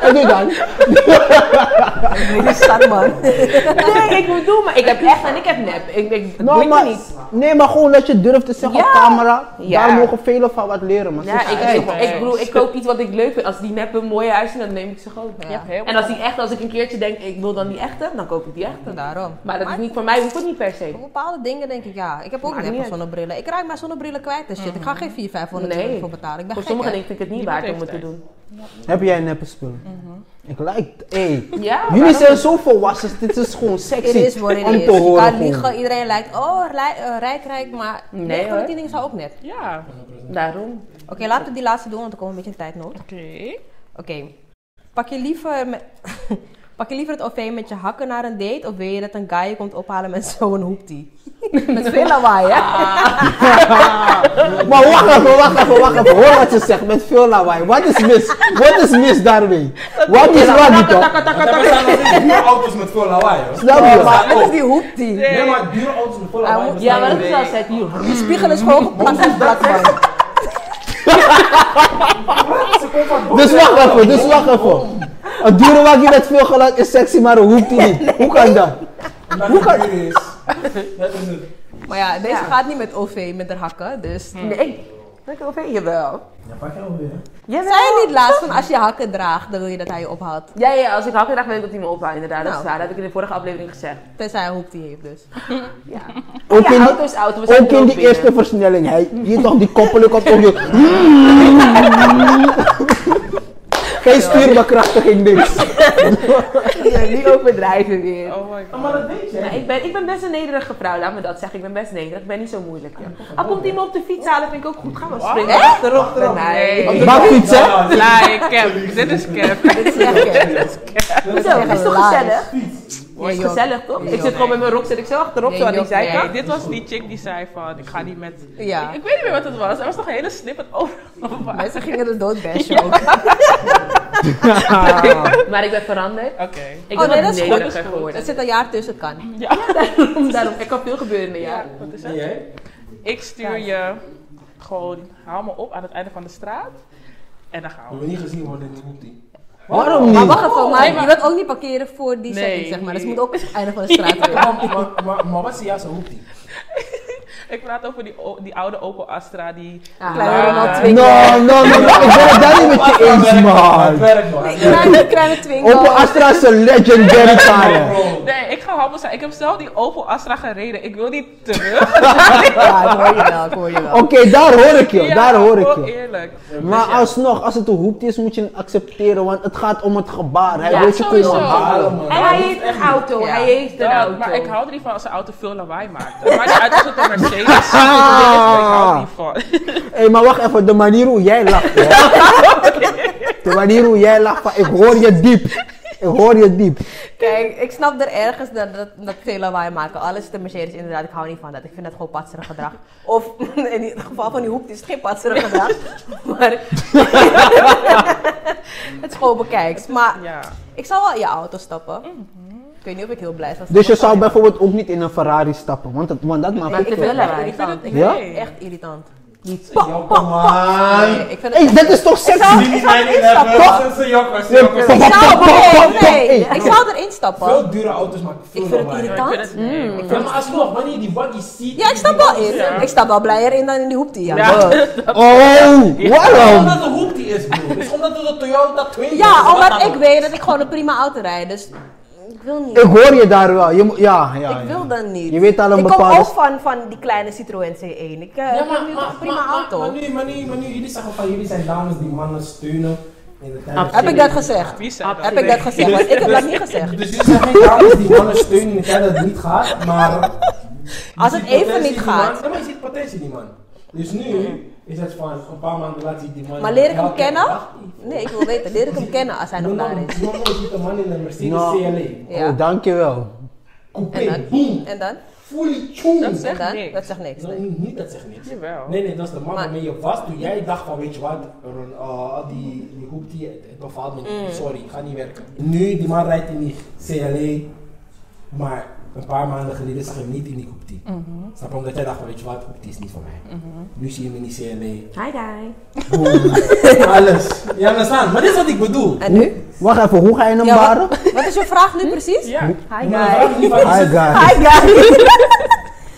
Speaker 4: En nu dan?
Speaker 3: Jullie stad, man.
Speaker 1: Nee, ik bedoel, maar ik heb echt en ik heb nep. Ik, ik, het
Speaker 4: Nou,
Speaker 1: boeit me
Speaker 4: maar,
Speaker 1: niet.
Speaker 4: nee, maar gewoon dat je durft te zeggen
Speaker 1: Ja.
Speaker 4: op camera.
Speaker 1: Ja.
Speaker 4: Daar mogen velen van wat leren. Maar
Speaker 1: Ja,
Speaker 4: ze-
Speaker 1: ik,
Speaker 4: Hey,
Speaker 1: ik, ik bedoel, ik koop iets wat ik leuk vind. Als die neppen mooi huizen, dan neem ik ze gewoon.
Speaker 3: Ja,
Speaker 5: helemaal.
Speaker 1: En als die echt, als ik een keertje denk, ik wil dan die echte, dan koop ik die echte.
Speaker 3: Daarom.
Speaker 1: Maar dat is niet voor mij, hoeft het niet per se.
Speaker 3: Voor bepaalde dingen denk ik ja. Ik heb ook
Speaker 1: Maakt
Speaker 3: neppe
Speaker 1: niet uit. Mhm.
Speaker 3: zonnebrillen. Ik raak mijn zonnebrillen kwijt en shit. Ik ga geen 4, 500
Speaker 1: Nee.
Speaker 3: euro voor betalen. Ik ben
Speaker 1: Voor
Speaker 3: gek,
Speaker 1: sommigen
Speaker 3: hè?
Speaker 1: denk ik het niet
Speaker 5: Die
Speaker 1: waard
Speaker 5: heeft
Speaker 1: om het te
Speaker 5: tijd.
Speaker 1: doen.
Speaker 4: Heb jij neppe spullen? Ik like. Hey.
Speaker 1: Mhm. Ja,
Speaker 4: Jullie
Speaker 1: waarom?
Speaker 4: zijn zo volwassen. Dit is gewoon
Speaker 3: Het
Speaker 4: sexy.
Speaker 3: is wat het
Speaker 4: om
Speaker 3: is.
Speaker 4: te
Speaker 3: Je
Speaker 4: horen.
Speaker 3: kan
Speaker 4: gewoon.
Speaker 3: liegen. Iedereen lijkt, oh, rijk, eh, rijk, rijk. Maar
Speaker 1: Nee,
Speaker 3: nee,
Speaker 1: hoor.
Speaker 3: van die dingen zijn ook net.
Speaker 5: ja.
Speaker 1: Daarom.
Speaker 3: Oké, laten we die laatste doen, want er komt een beetje een tijd nodig.
Speaker 5: Oké.
Speaker 3: Oké. Pak, je liever me- pak je liever het OV met je hakken naar een date? Of wil je dat een guy je komt ophalen met zo'n hoeptie? met veel lawaai, hè?
Speaker 1: Ah,
Speaker 4: Maar wacht even, wacht even, wacht even. Hoor wat je zegt met veel lawaai. Wat is mis? Wat is mis daarmee? Wat is wat niet toch?
Speaker 2: Want er bestaan nog steeds dure auto's met veel lawaai, hoor.
Speaker 4: Snap je? Maar-
Speaker 3: Wat is die hoeptie?
Speaker 2: Nee, maar dure auto's met veel
Speaker 4: Ah,
Speaker 2: lawaai
Speaker 3: moet-
Speaker 1: Ja, maar dat
Speaker 2: bestaan nog
Speaker 1: is wel set hier.
Speaker 3: Die spiegel is gewoon geplakt op plakband.
Speaker 2: steeds. Ze komt van
Speaker 4: Dus wacht even, dus wacht even. Een dure waggie met veel geluid is sexy, maar een hoeft die niet. Hoe kan dat?
Speaker 2: Omdat het duur is. Dat is het.
Speaker 3: Maar ja, deze gaat niet met OV, met haar hakken, dus...
Speaker 1: Nee. Dat kan wel. Jawel.
Speaker 2: Ja, pak je alweer. hè?
Speaker 3: Zei je niet laatst van als je hakken draagt, dan wil je dat hij je ophaalt?
Speaker 1: Ja, ja, als ik hakken draag, weet ik dat hij me ophaalt, inderdaad. Dat is
Speaker 3: Nou.
Speaker 1: waar, dat heb ik in de vorige aflevering gezegd.
Speaker 3: Tenzij hij hoeptie heeft dus.
Speaker 1: Ja.
Speaker 4: Ook
Speaker 1: Ja,
Speaker 4: in die,
Speaker 1: auto is auto. we zijn
Speaker 4: ook in
Speaker 1: er
Speaker 4: die
Speaker 1: binnen.
Speaker 4: eerste versnelling. Hij, je toch die koppeling komt ook je. Geen stuurbekrachtiging, niks.
Speaker 1: Ja, niet overdrijven weer.
Speaker 5: Oh my god.
Speaker 2: Maar dat weet je.
Speaker 1: Ja, ik, ben, ik ben best een nederige vrouw, laat me dat zeggen. Ik ben best nederig, ik ben niet zo moeilijk. Ja. Ah, komt iemand op de fiets halen, vind ik ook goed. Ga maar springen. Achterop bij mij.
Speaker 5: Oh, Nee.
Speaker 4: Bakfiets, hè?
Speaker 5: Nee, cap. Dit is cap.
Speaker 3: Dit is echt gek.
Speaker 1: Zo, is toch
Speaker 3: Lies.
Speaker 1: gezellig?
Speaker 3: Nee,
Speaker 1: is
Speaker 3: joh.
Speaker 1: gezellig, toch? Ik
Speaker 3: joh,
Speaker 1: zit gewoon met mijn rok, zit ik zo achterop,
Speaker 3: Nee,
Speaker 1: zo aan die
Speaker 3: joh,
Speaker 1: zijkant.
Speaker 5: Nee, dit was die chick die zei van, ik ga niet met...
Speaker 3: Ja.
Speaker 5: Ik, ik weet niet meer wat het was. Er was toch een hele snippet Oh. over.
Speaker 3: Mensen gingen er dood Oh, bashen ook.
Speaker 1: Maar ik ben veranderd.
Speaker 5: Oké.
Speaker 1: Ik
Speaker 3: Oh, nee,
Speaker 1: ben wat
Speaker 3: dat is goed.
Speaker 1: nederiger
Speaker 3: Er
Speaker 1: geworden.
Speaker 3: zit een jaar tussen, kan.
Speaker 1: Daarom, daarom, er kan veel gebeuren in een jaar.
Speaker 5: Wat is
Speaker 2: En
Speaker 5: het?
Speaker 2: jij?
Speaker 5: Ik stuur je gewoon, haal me op aan het einde van de straat. En dan gaan
Speaker 2: We
Speaker 5: we.
Speaker 2: hebben niet gezien worden in die hoektie.
Speaker 4: Waarom
Speaker 3: Maar
Speaker 4: niet?
Speaker 3: wacht even, maar
Speaker 5: Nee,
Speaker 3: je
Speaker 5: maar-
Speaker 3: wilt ook niet parkeren voor die
Speaker 5: Nee.
Speaker 3: setting, zeg maar. Dus het moet ook het einde van de straat weer.
Speaker 2: Maar, maar, maar, maar wat is de juiste hoektie?
Speaker 5: Ik praat over die, o- die oude Opel Astra die...
Speaker 3: Kleine Renault
Speaker 4: No,
Speaker 3: Twingo.
Speaker 4: no, no, no. Ik ben het daar niet met je eens,
Speaker 2: Het
Speaker 4: man.
Speaker 2: werkt, man. Het werkt.
Speaker 3: Kleine, kleine Twingo.
Speaker 4: Opel Astra is een legendary car. hè.
Speaker 2: Bro.
Speaker 5: Nee, ik ga humble zijn. Ik heb zelf die Opel Astra gereden. Ik wil die terug.
Speaker 3: Ja, ik hoor je wel, ik hoor je wel.
Speaker 4: Oké, daar hoor ik je,
Speaker 5: Ja,
Speaker 4: daar hoor ik
Speaker 5: gewoon
Speaker 4: je.
Speaker 5: eerlijk.
Speaker 4: Maar alsnog, als het een hoepte is, moet je het accepteren, want het gaat om het gebaar. Hij
Speaker 1: Ja,
Speaker 4: wil je
Speaker 5: sowieso.
Speaker 4: komen halen.
Speaker 2: Allemaal.
Speaker 1: En hij heeft een auto,
Speaker 3: Ja.
Speaker 1: hij heeft een
Speaker 5: Dat,
Speaker 1: auto.
Speaker 5: maar ik hou er niet van als een auto veel lawaai maakt. Het maakt niet uit of het een Mercedes is. Ik hou er niet van.
Speaker 4: Hé, maar wacht even, de manier hoe jij lacht. Hè? De manier hoe jij lacht, van, ik hoor je diep. Ik hoor je diep.
Speaker 3: Kijk, ik snap er ergens dat, dat, dat veel lawaai maken. Alles de Mercedes, inderdaad, ik hou niet van dat. Ik vind dat gewoon patserig gedrag. Of in het geval van die hoek is het geen patserig gedrag. Maar het is gewoon bekijks.
Speaker 7: Ah.
Speaker 3: Maar
Speaker 5: Ja.
Speaker 3: ik zal wel in je auto stappen. Ik weet niet of ik heel blij sta.
Speaker 4: Dus je zou bijvoorbeeld ook niet in een Ferrari stappen, want dat, want dat maakt
Speaker 1: Maar
Speaker 4: ook
Speaker 1: ik
Speaker 4: veel.
Speaker 1: wil lawaai.
Speaker 3: Ik vind het ik
Speaker 4: Ja?
Speaker 3: vind het echt irritant.
Speaker 2: Yo, come on.
Speaker 3: Nee, ik vind
Speaker 4: Hé,
Speaker 3: het
Speaker 4: dat is toch sexy?
Speaker 2: Jullie zijn in de Ze jokken, ze jokken.
Speaker 4: Pop, pop,
Speaker 3: Ik zou,
Speaker 4: pop, pop, pop,
Speaker 3: Nou, nee, nee,
Speaker 4: hey.
Speaker 3: ik zou erin stappen.
Speaker 2: Veel dure auto's maken veel
Speaker 3: Ik vind het
Speaker 2: lawaai.
Speaker 5: Ik vind het
Speaker 3: irritant.
Speaker 5: nee. Ik
Speaker 2: Ja, maar alsnog, wanneer je die waggie ziet...
Speaker 3: Ja, ik stap wel in. Ik stap wel blijer in dan in die hoeptie. Ja,
Speaker 5: Ja.
Speaker 3: Buh.
Speaker 4: Oh, waarom?
Speaker 2: Omdat het een hoek die is, bro. Het is omdat het een Toyota 2 is.
Speaker 3: Ja,
Speaker 2: Wat
Speaker 3: omdat
Speaker 2: dan
Speaker 3: ik
Speaker 2: ook.
Speaker 3: weet dat ik gewoon een prima auto rijd. Dus ik wil niet.
Speaker 4: Ik hoor je daar wel. Je, moet- ja, ja,
Speaker 3: Ik
Speaker 4: ja.
Speaker 3: wil dan niet.
Speaker 4: Je weet al een
Speaker 3: ik
Speaker 4: bepaalde-
Speaker 3: kom ook van, van die kleine Citroën C1. Ik eh
Speaker 2: Ja,
Speaker 3: heb
Speaker 2: maar,
Speaker 3: nu toch
Speaker 2: maar,
Speaker 3: een prima
Speaker 2: maar,
Speaker 3: auto.
Speaker 2: Maar, maar, nu, maar, nu, maar nu, jullie zeggen van jullie zijn dames die mannen steunen in de tijd.
Speaker 3: heb ik dat gezegd?
Speaker 5: Wie zei dat?
Speaker 3: Heb ik dat gezegd? Want ik heb dat niet gezegd.
Speaker 2: Dus jullie zijn geen dames die mannen steunen in de tijd dat het niet gaat, maar...
Speaker 3: Als
Speaker 2: je
Speaker 3: het
Speaker 2: ziet
Speaker 3: even
Speaker 2: potentie
Speaker 3: niet
Speaker 2: in die
Speaker 3: gaat. Mhm.
Speaker 2: man. Ja, maar je ziet potentie in die man. Dus nu is het van een paar maanden laat je die man...
Speaker 3: Maar leer ik hem
Speaker 2: elke
Speaker 3: kennen?
Speaker 2: dag-
Speaker 3: Nee, ik wil weten. Leer ik hem kennen als hij nog
Speaker 2: Noem
Speaker 3: daar
Speaker 2: nou-
Speaker 3: is?
Speaker 2: noem nou eens een man in een Mercedes
Speaker 4: Nou.
Speaker 2: CLA.
Speaker 3: Ja.
Speaker 4: Oh, dankjewel.
Speaker 3: En
Speaker 2: Coupé,
Speaker 3: dan?
Speaker 2: boom,
Speaker 3: En dan?
Speaker 2: fully tuned.
Speaker 5: Dat
Speaker 3: En
Speaker 5: zegt
Speaker 3: dan?
Speaker 5: niks.
Speaker 3: Dat zegt niks.
Speaker 2: Nee,
Speaker 3: nee.
Speaker 2: niet dat zegt niks.
Speaker 5: Jawel.
Speaker 2: Nee, nee, dat is de man
Speaker 3: Maar-
Speaker 2: waarmee je was toen jij dacht van, weet je wat, Ron- ah, die, die hoek die, het
Speaker 3: Mm.
Speaker 2: bevalt me niet, sorry, gaat niet werken. Nu, die man rijdt in die CLA, E, maar een paar maanden geleden zag je hem niet in die groep 10.
Speaker 3: Mhm.
Speaker 2: Snap je? Omdat jij dacht, van, weet je wat, groep 10 is niet voor mij. Nu zie je hem in die
Speaker 1: Hi, guy.
Speaker 2: CLE. Alles. Je understand? Maar dit is wat ik bedoel.
Speaker 3: En nu?
Speaker 4: Wacht even, hoe ga je hem
Speaker 3: Ja, wat-
Speaker 4: baren?
Speaker 3: wat, is je vraag
Speaker 2: Hm?
Speaker 3: nu precies?
Speaker 5: Ja.
Speaker 3: Hi
Speaker 2: Maar de vraag
Speaker 3: guys.
Speaker 2: is niet van, is
Speaker 4: Hi
Speaker 2: het-
Speaker 4: guys.
Speaker 3: Hi guys.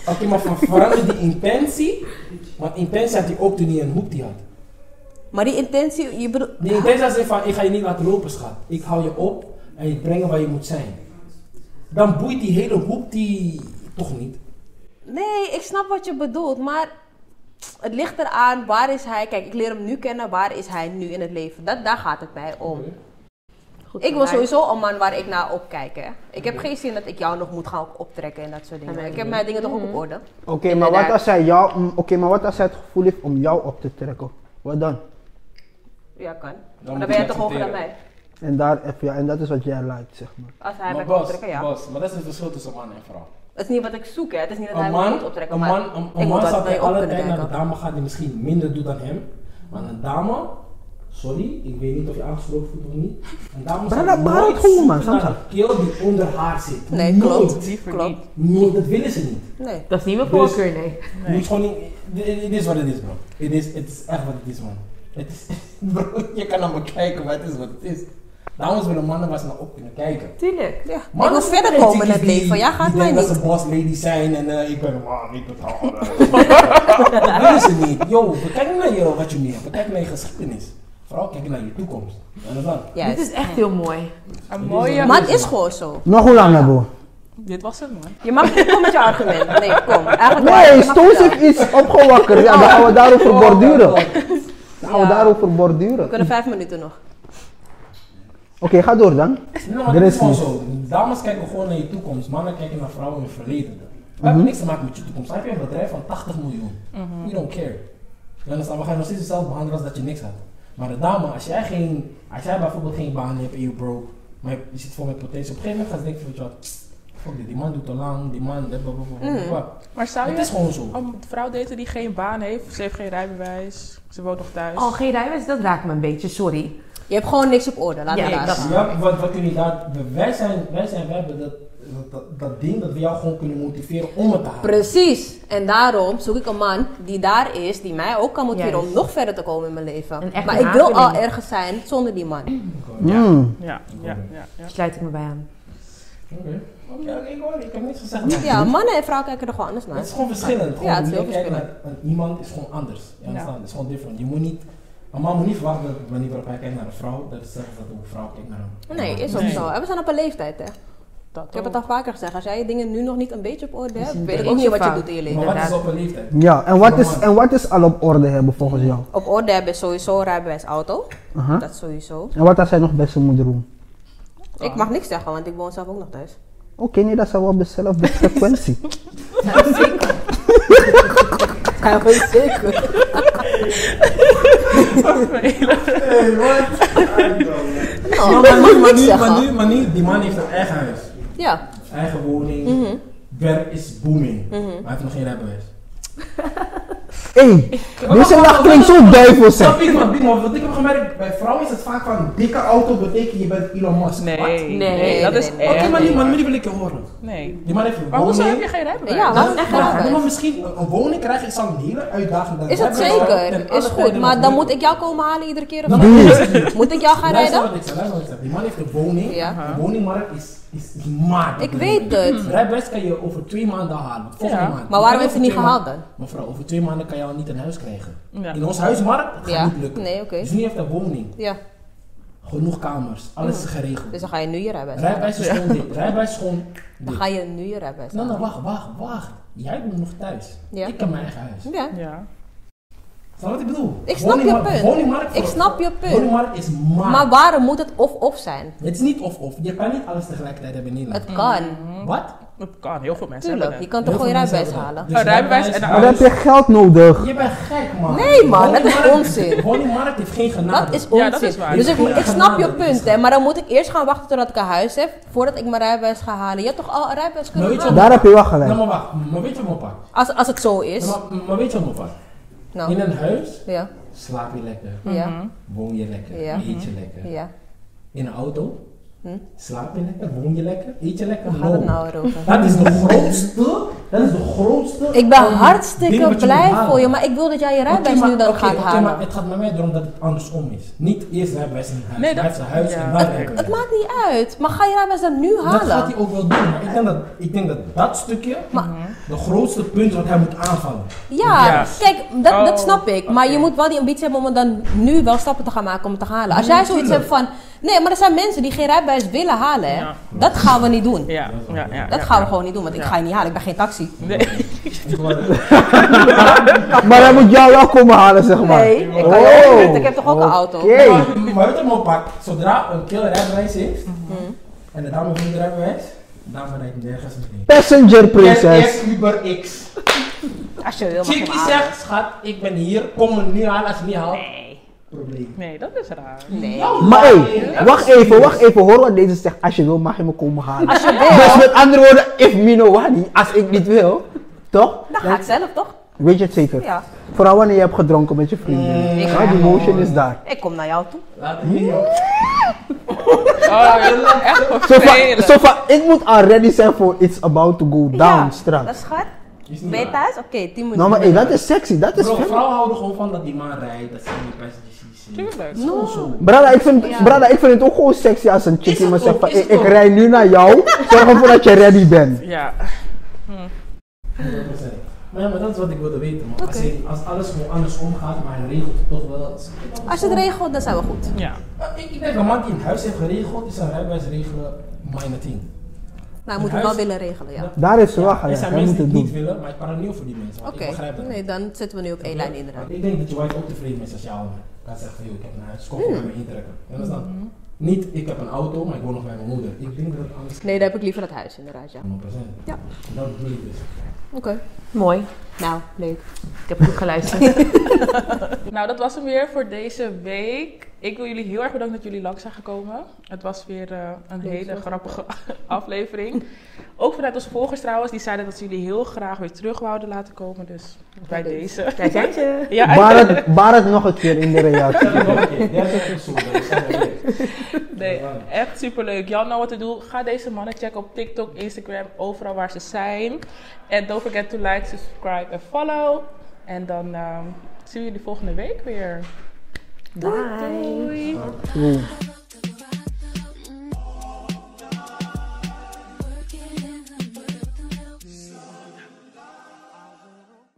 Speaker 2: Oké, maar van verander die intentie. Want intentie had hij ook toen hij een hoek die had.
Speaker 3: Maar die intentie, je bedoelt...
Speaker 2: Die intentie was van, ik ga je niet laten lopen, schat. Ik hou je op en ik breng je waar je moet zijn. Dan boeit die hele hoek die toch niet.
Speaker 3: Nee, ik snap wat je bedoelt, maar het ligt eraan waar is hij. Kijk, ik leer hem nu kennen, waar is hij nu in het leven? Dat, daar gaat het mij om.
Speaker 1: Goed
Speaker 3: Ik wil
Speaker 1: vermaakt.
Speaker 3: sowieso een man waar ik naar opkijk. Hè. Ik heb geen zin dat ik jou nog moet gaan optrekken en dat soort dingen. Ik heb mijn dingen toch ook op orde.
Speaker 4: Oké, maar wat
Speaker 3: Inderdaad.
Speaker 4: als hij jou, mm, oké, maar wat als hij het gevoel heeft om jou op te trekken? Wat dan?
Speaker 3: Ja, kan.
Speaker 2: moet
Speaker 3: Dan, dan
Speaker 2: je
Speaker 3: ben jij toch hoger dan
Speaker 2: accepteren.
Speaker 3: mij.
Speaker 4: En daar even, ja, en dat is wat jij lijkt, zeg maar.
Speaker 3: Als hij mij
Speaker 2: maar
Speaker 3: kan
Speaker 2: bos,
Speaker 3: optrekken, ja.
Speaker 2: bos, maar dat is het verschil tussen man en vrouw.
Speaker 3: Het is niet wat ik zoek, hè. Het is niet dat hij
Speaker 2: Een
Speaker 3: mij
Speaker 2: man,
Speaker 3: moet optrekken.
Speaker 2: een
Speaker 3: maar
Speaker 2: man, een,
Speaker 3: ik
Speaker 2: een
Speaker 3: moet
Speaker 2: man
Speaker 3: wat
Speaker 2: zal
Speaker 3: mee
Speaker 2: bij
Speaker 3: op
Speaker 2: alle
Speaker 3: kunnen
Speaker 2: tijd naar de
Speaker 3: kijken.
Speaker 2: dame gaan die misschien minder doet dan hem. Maar een dame, sorry, ik weet niet of je aangesproken voelt of niet. Een dame
Speaker 4: Maar dat-
Speaker 2: zal
Speaker 4: maar dat
Speaker 2: nooit
Speaker 4: gewoon,
Speaker 2: zoeken
Speaker 4: man,
Speaker 2: naar
Speaker 4: Samsa.
Speaker 2: de keel die onder haar zit.
Speaker 3: Nee,
Speaker 2: Nooit.
Speaker 3: klopt.
Speaker 5: Liever
Speaker 3: Klopt.
Speaker 5: niet.
Speaker 2: Nee, dat willen ze niet.
Speaker 3: Nee.
Speaker 7: Dat is niet mijn
Speaker 2: Dus-
Speaker 7: voorkeur, nee.
Speaker 2: Je moet gewoon niet. Het het is wat het is, bro. Het is, het is echt wat het is, man. Het is, bro, je kan naar me kijken, maar het is wat het is. Dames willen mannen waar ze naar op kunnen kijken.
Speaker 7: Tuurlijk.
Speaker 3: Ja. Ik
Speaker 2: Mannen
Speaker 3: wil
Speaker 2: zijn
Speaker 3: verder
Speaker 2: geen
Speaker 3: komen in het
Speaker 2: chickies die-
Speaker 3: leven. Jij gaat
Speaker 2: die
Speaker 3: mij
Speaker 2: denken
Speaker 3: niet.
Speaker 2: dat ze boss lady zijn en eh, ik ben een man, ik betaal. eh. Dat willen ze niet. Yo, we kijken naar je, wat je meer hebt. We kijken naar je geschiedenis. Vooral kijken naar je toekomst. En dat dan.
Speaker 3: Juist.
Speaker 7: Dit is echt heel mooi.
Speaker 5: Een mooie...
Speaker 3: Maar het is gewoon zo.
Speaker 4: Nog hoe lang hebben we?
Speaker 5: Dit was het, man.
Speaker 3: Je mag niet komen met je argument. Nee, kom. Eigenlijk
Speaker 4: Nee,
Speaker 3: je mag
Speaker 4: Stoos
Speaker 3: vertellen.
Speaker 4: heeft iets opgewakkerd. Ja, dan gaan we daarover borduren. Dan gaan we
Speaker 3: Ja.
Speaker 4: daarover
Speaker 3: We
Speaker 4: borduren. Oké,
Speaker 3: kunnen vijf minuten nog.
Speaker 4: ga door dan.
Speaker 2: Nee, maar
Speaker 4: Er
Speaker 2: dat
Speaker 4: is
Speaker 2: is gewoon
Speaker 4: niet.
Speaker 2: zo. Dames kijken gewoon naar je toekomst. Mannen kijken naar vrouwen in het verleden. Dat
Speaker 4: Mhm.
Speaker 2: heeft niks te maken met je toekomst. Dan heb je een bedrijf van 80 miljoen. You don't care. Je understand? We gaan je nog steeds hetzelfde behandelen als dat je niks had. Maar de dame, als jij, geen, als jij bijvoorbeeld geen baan hebt en je broke, maar je- je zit vol met potentie, op een gegeven moment gaan ze denken van, weet je wat, pst, fuck dit, die man doet te lang, die man, dit,
Speaker 5: Maar zou
Speaker 2: Het is
Speaker 5: je
Speaker 2: gewoon zo.
Speaker 5: een vrouw daten die geen baan heeft? Ze heeft geen rijbewijs. Ze woont nog thuis.
Speaker 7: Oh, geen rijbewijs, dat raakt me een beetje, sorry.
Speaker 3: Je hebt gewoon niks op orde. Laat
Speaker 7: Ja,
Speaker 3: het daar
Speaker 7: dat-
Speaker 3: staan.
Speaker 2: Ja, wat, wat jullie daar, wij zijn, wij zijn, wij hebben dat, dat, dat ding dat we jou gewoon kunnen motiveren om het te halen.
Speaker 3: Precies. En daarom zoek ik een man die daar is, die mij ook kan motiveren om
Speaker 7: Juist.
Speaker 3: nog verder te komen in mijn leven.
Speaker 7: Een echte
Speaker 3: Maar ik wil al
Speaker 7: aanvulling.
Speaker 3: ergens zijn zonder die man.
Speaker 4: Mm.
Speaker 5: Ja, ja, ja. ja.
Speaker 7: Daar sluit ik me bij aan.
Speaker 2: Oké. Ja, ik hoor, ik heb niks gezegd.
Speaker 3: Ja, mannen en vrouwen kijken er gewoon anders
Speaker 2: Het
Speaker 3: naar.
Speaker 2: is gewoon verschillend. Gewoon
Speaker 3: het is
Speaker 2: hoe
Speaker 3: heel
Speaker 2: jij kijkt Naar, een- iemand is gewoon anders. Je understand? Het is gewoon different. Je moet niet, een man moet niet verwachten dat de manier waarop hij kijkt naar een vrouw, dat is zeggen dat een vrouw kijkt naar hem.
Speaker 3: Nee, is ook
Speaker 5: Nee.
Speaker 3: zo. En we zijn op een leeftijd, hè.
Speaker 5: Dat
Speaker 3: Ik heb het
Speaker 5: ook.
Speaker 3: al vaker gezegd. Als jij je dingen nu nog niet een beetje op orde
Speaker 7: is
Speaker 3: hebt,
Speaker 7: een
Speaker 3: weet ik ook
Speaker 7: beetje
Speaker 3: niet wat je
Speaker 7: fout.
Speaker 3: doet in je
Speaker 2: Maar
Speaker 3: leven.
Speaker 2: wat is
Speaker 7: Inderdaad.
Speaker 2: op een leeftijd?
Speaker 4: Ja, en wat, is,
Speaker 2: Normaal.
Speaker 4: en wat is al op orde hebben volgens jou?
Speaker 3: Op orde hebben is sowieso een rijbewijs auto.
Speaker 4: Aha.
Speaker 3: Dat sowieso.
Speaker 4: En wat als hij nog bij zijn moeder woont?
Speaker 3: Ik
Speaker 2: Ah.
Speaker 3: mag niks zeggen, want ik woon zelf ook nog thuis.
Speaker 4: Oké, nee, dat zou wel op dezelfde frequentie.
Speaker 3: Ja, zeker.
Speaker 2: Hey, wat?
Speaker 3: Nou,
Speaker 2: maar,
Speaker 3: ik mag
Speaker 2: nu, maar,
Speaker 3: niks
Speaker 2: nu, maar,
Speaker 3: zeggen.
Speaker 2: nu, maar nu, die man heeft een eigen huis,
Speaker 3: Ja,
Speaker 2: eigen woning,
Speaker 3: Mhm.
Speaker 2: werk is booming, maar hij heeft nog geen rijbewijs.
Speaker 4: Hé, deze nacht klinkt zo duivels. hè.
Speaker 2: Snap ik man, man, want ik heb gemerkt, bij vrouwen is het vaak van dikke auto betekent je bent Elon Musk.
Speaker 5: Nee,
Speaker 2: Wat?
Speaker 5: nee,
Speaker 7: nee,
Speaker 5: dat is
Speaker 3: nee, nee.
Speaker 2: Oké,
Speaker 5: echt
Speaker 2: maar nu,
Speaker 5: niet.
Speaker 2: maar nu wil ik je horen.
Speaker 5: Nee.
Speaker 2: Die man heeft een
Speaker 5: Maar hoezo
Speaker 2: woning.
Speaker 5: heb je geen rijbewijs?
Speaker 3: ja laat hem echt
Speaker 2: Ja,
Speaker 3: rijbewijs.
Speaker 2: maar misschien een een woning krijg ik zo'n hele uitdaging.
Speaker 3: Is het zeker? Is goed, maar dan moet ik jou komen halen iedere keer of
Speaker 2: Dan
Speaker 3: niet? Moet ik jou gaan
Speaker 2: Luister
Speaker 3: rijden?
Speaker 2: wat ik zeg, luister wat ik zeg. Die man heeft een woning.
Speaker 3: Ja.
Speaker 2: De woningmarkt is, is, is maat.
Speaker 3: Ik weet het.
Speaker 2: Rijbewijs kan je over twee maanden halen. Volgende
Speaker 5: Ja.
Speaker 2: maand.
Speaker 3: Maar waarom
Speaker 2: Je kan
Speaker 3: heeft hij niet
Speaker 2: over twee
Speaker 3: gehaald
Speaker 2: maanden-
Speaker 3: dan?
Speaker 2: Mevrouw, over twee maanden kan je al niet een huis krijgen.
Speaker 5: Ja.
Speaker 2: In ons huismarkt gaat
Speaker 3: Ja.
Speaker 2: niet lukken.
Speaker 3: Nee, oké.
Speaker 2: Dus nu heeft hij woning.
Speaker 3: Ja,
Speaker 2: Genoeg kamers. Alles is geregeld.
Speaker 3: dus dan ga je nu je rijbewijs halen.
Speaker 2: Rijbewijs is gewoon dit. Rijbewijs is gewoon
Speaker 3: Dan
Speaker 2: dit.
Speaker 3: ga je nu je rijbewijs
Speaker 2: Nou, nou,
Speaker 3: halen.
Speaker 2: wacht, wacht, wacht. Jij woont nog thuis.
Speaker 3: Ja.
Speaker 2: Ik heb mijn eigen huis.
Speaker 3: Ja.
Speaker 5: Ja.
Speaker 2: Snap wat ik bedoel?
Speaker 3: Ik snap je
Speaker 2: Woningmarkt-
Speaker 3: punt.
Speaker 2: woningmarkt-
Speaker 3: Ik snap je punt.
Speaker 2: Woningmarkt is maar.
Speaker 3: Maar waarom moet het of-of zijn?
Speaker 2: Het is niet of-of. Je kan niet alles tegelijkertijd hebben in Nederland.
Speaker 3: Het kan,
Speaker 2: Wat?
Speaker 5: Dat kan, heel veel mensen
Speaker 3: tuurlijk. Je
Speaker 5: hebben
Speaker 3: kan toch
Speaker 2: Heel
Speaker 3: gewoon je
Speaker 2: veel mensen
Speaker 3: rijbewijs halen?
Speaker 2: hebben dat. Dus
Speaker 5: Een rijbewijs en
Speaker 4: Maar
Speaker 5: een
Speaker 4: dan heb je geld nodig.
Speaker 2: Je bent gek, man.
Speaker 3: Nee, man, dat is
Speaker 2: Woningmarkt-
Speaker 3: onzin.
Speaker 2: Woningmarkt heeft geen genade.
Speaker 3: Dat is
Speaker 5: Ja,
Speaker 3: onzin.
Speaker 5: dat is waar.
Speaker 3: Dus ik,
Speaker 2: Ja.
Speaker 3: ik snap je
Speaker 2: Ja.
Speaker 3: punt, hè. Maar dan moet ik eerst gaan wachten totdat ik een huis heb, voordat ik mijn rijbewijs ga halen. Je hebt toch al een rijbewijs
Speaker 2: Maar
Speaker 3: kunnen
Speaker 2: weet je
Speaker 3: halen?
Speaker 4: Daar heb je wel
Speaker 2: Nou,
Speaker 4: gelijk.
Speaker 2: maar wacht. Maar weet je wat mijn pak?
Speaker 3: Als, als het zo is.
Speaker 2: Maar, maar weet je wat mijn pak? In
Speaker 3: Nou,
Speaker 2: een huis
Speaker 3: ja,
Speaker 2: slaap je lekker.
Speaker 3: ja,
Speaker 2: Woon je lekker.
Speaker 3: Ja.
Speaker 2: Eet je lekker.
Speaker 3: ja.
Speaker 2: In een auto Slaap je lekker? Woon je lekker? Eet je lekker?
Speaker 3: Gaat het
Speaker 2: No.
Speaker 3: nou erover?
Speaker 2: Dat is de grootste. Dat is de grootste.
Speaker 3: Ik ben
Speaker 2: eh, ding
Speaker 3: hartstikke
Speaker 2: wat je
Speaker 3: blij
Speaker 2: moet halen.
Speaker 3: voor je, maar ik wil dat jij je
Speaker 2: Oké,
Speaker 3: rijbewijs
Speaker 2: maar-
Speaker 3: nu dan
Speaker 2: oké,
Speaker 3: gaat
Speaker 2: oké,
Speaker 3: halen.
Speaker 2: maar het gaat bij mij erom dat het andersom is. Niet eerst rijbewijs in huis. Nee,
Speaker 5: Nee, dat-
Speaker 2: dat, zijn huis
Speaker 5: ja.
Speaker 2: en dan rijbewijs.
Speaker 3: Het maakt niet uit, maar ga je rijbewijs dan nu
Speaker 2: Dat gaat
Speaker 3: halen?
Speaker 2: hij ook wel doen. Maar ik denk dat, ik denk dat, dat stukje de grootste punt is wat hij moet aanvallen.
Speaker 3: Ja,
Speaker 5: Ja.
Speaker 3: kijk, dat, dat
Speaker 5: Oh,
Speaker 3: snap ik. Maar je moet wel die ambitie hebben om het dan nu wel stappen te gaan maken om het te halen. Als jij zoiets hebt van, nee, maar er zijn mensen die geen rijbewijs willen halen, hè.
Speaker 5: Ja.
Speaker 3: dat gaan we niet doen.
Speaker 5: Ja, ja, ja.
Speaker 3: Dat
Speaker 5: ja.
Speaker 3: gaan we gewoon niet doen, want ik
Speaker 5: Ja.
Speaker 3: ga je niet halen, ik ben geen taxi.
Speaker 5: Nee.
Speaker 2: Ik word-
Speaker 4: Maar hij moet jou wel komen halen, zeg maar.
Speaker 3: Nee, ik, kan
Speaker 4: Oh,
Speaker 3: jou niet, ik heb toch ook een auto?
Speaker 4: oké.
Speaker 2: Maar maar weet je mijn pak? Zodra een kill rijbewijs heeft
Speaker 3: Mhm.
Speaker 2: en de dame vindt rijbewijs, dan ben ik nergens mee.
Speaker 4: Passenger
Speaker 2: Prinses.
Speaker 4: prinses.
Speaker 2: Uber X.
Speaker 3: Als je wil, mag je hem
Speaker 2: Chickie
Speaker 3: halen.
Speaker 2: zegt, schat, ik ben hier, kom me niet halen als je niet haalt. Probleem.
Speaker 5: nee, dat is raar.
Speaker 3: Nee.
Speaker 2: Nou,
Speaker 4: Maar
Speaker 2: laat
Speaker 4: hé,
Speaker 2: je-
Speaker 4: wacht even, wacht even. Hoor wat deze zegt. Als je wil, mag je me komen halen.
Speaker 3: Als je
Speaker 4: Dus
Speaker 3: wil,
Speaker 4: met andere woorden, if me no wani, als ik niet wil, toch?
Speaker 3: dan ga ik zelf toch?
Speaker 4: Weet je het zeker?
Speaker 3: Ja. Mm.
Speaker 4: Vooral wanneer je hebt gedronken met je vrienden.
Speaker 3: Ik
Speaker 4: Ja,
Speaker 3: ga
Speaker 4: die motion is daar.
Speaker 3: Ik kom naar jou toe.
Speaker 2: Laat het niet op.
Speaker 5: Oh, ja, echt
Speaker 4: Zo van,
Speaker 5: vervelend.
Speaker 4: zo van, ik moet al ready zijn voor it's about to go down
Speaker 3: ja. Dat
Speaker 4: straks.
Speaker 3: is goed.
Speaker 2: Is niet
Speaker 3: Ben je
Speaker 2: waar.
Speaker 3: thuis? Oké, 10 minuten.
Speaker 4: Nou maar hey, dat is sexy, dat is
Speaker 2: Bro,
Speaker 4: fijn.
Speaker 2: vrouwen houden gewoon van dat die man rijdt, dat ze in die passagiers zien.
Speaker 5: Tuurlijk.
Speaker 2: Zo, zo.
Speaker 4: Brada ik, vind, brada, ik vind het ook gewoon sexy als een chick
Speaker 2: Is het
Speaker 4: me zegt
Speaker 2: ook,
Speaker 4: van,
Speaker 2: is
Speaker 4: hey,
Speaker 2: het
Speaker 4: ik
Speaker 2: ook.
Speaker 4: rij nu naar jou, zorg ervoor dat je ready bent.
Speaker 5: Ja.
Speaker 2: 100%. Maar ja, maar dat is wat ik wilde weten, man. Als, je- als alles gewoon anders omgaat, maar hij regelt het toch wel. Als,
Speaker 3: Als je het regelt, dan zijn we goed.
Speaker 5: Ja.
Speaker 2: Eh, ik, ik denk, een man die een huis heeft geregeld, is een rijbewijs regelen minor 10.
Speaker 3: Nou, je moet het wel willen regelen, ja.
Speaker 4: Daar heeft ze wel
Speaker 2: Er
Speaker 4: gelijk,
Speaker 2: zijn
Speaker 4: hij
Speaker 2: mensen
Speaker 4: moet
Speaker 2: die
Speaker 4: het
Speaker 2: het niet
Speaker 4: doen.
Speaker 2: willen, maar ik ben er niet voor die mensen. want
Speaker 3: Oké,
Speaker 2: Ik begrijp dat.
Speaker 3: nee, dan zitten we nu op één lijn inderdaad.
Speaker 2: Want Ik denk dat je wife ook tevreden is als je ouder kan zeggen van, joh, ik heb een huis,
Speaker 3: Hmm.
Speaker 2: kom, ik ga me intrekken. En dat is
Speaker 3: Mhm.
Speaker 2: dan niet, ik heb een auto, maar ik woon nog bij mijn moeder. Ik denk dat het anders
Speaker 3: Nee, daar heb ik liever het huis inderdaad, ja.
Speaker 2: 100%.
Speaker 3: Ja.
Speaker 2: Dat bedoel ik dus.
Speaker 3: Oké.
Speaker 8: Mooi.
Speaker 3: Nou, leuk.
Speaker 8: Ik heb goed geluisterd.
Speaker 5: Nou, dat was hem weer voor deze week. Ik wil jullie heel erg bedanken dat jullie langs zijn gekomen. Het was weer eh, een hele grappige aflevering. Ook vanuit onze volgers trouwens, die zeiden dat ze jullie heel graag weer terug wouden laten komen. Dus bij
Speaker 3: Leuk.
Speaker 5: deze.
Speaker 8: Daar zijn ze.
Speaker 5: Ja,
Speaker 4: Barat, Barat nog een keer in de reactie.
Speaker 2: Stel het nog een keer. Jij hebt het ook zo, dat is allemaal leuk.
Speaker 5: Nee, echt superleuk. Jan nou wat te doen. Ga deze mannen checken op TikTok, Instagram, overal waar ze zijn. En don't forget to like, subscribe en follow. En dan ehm, zien we jullie volgende week weer. Doei! doei.
Speaker 4: Oeh.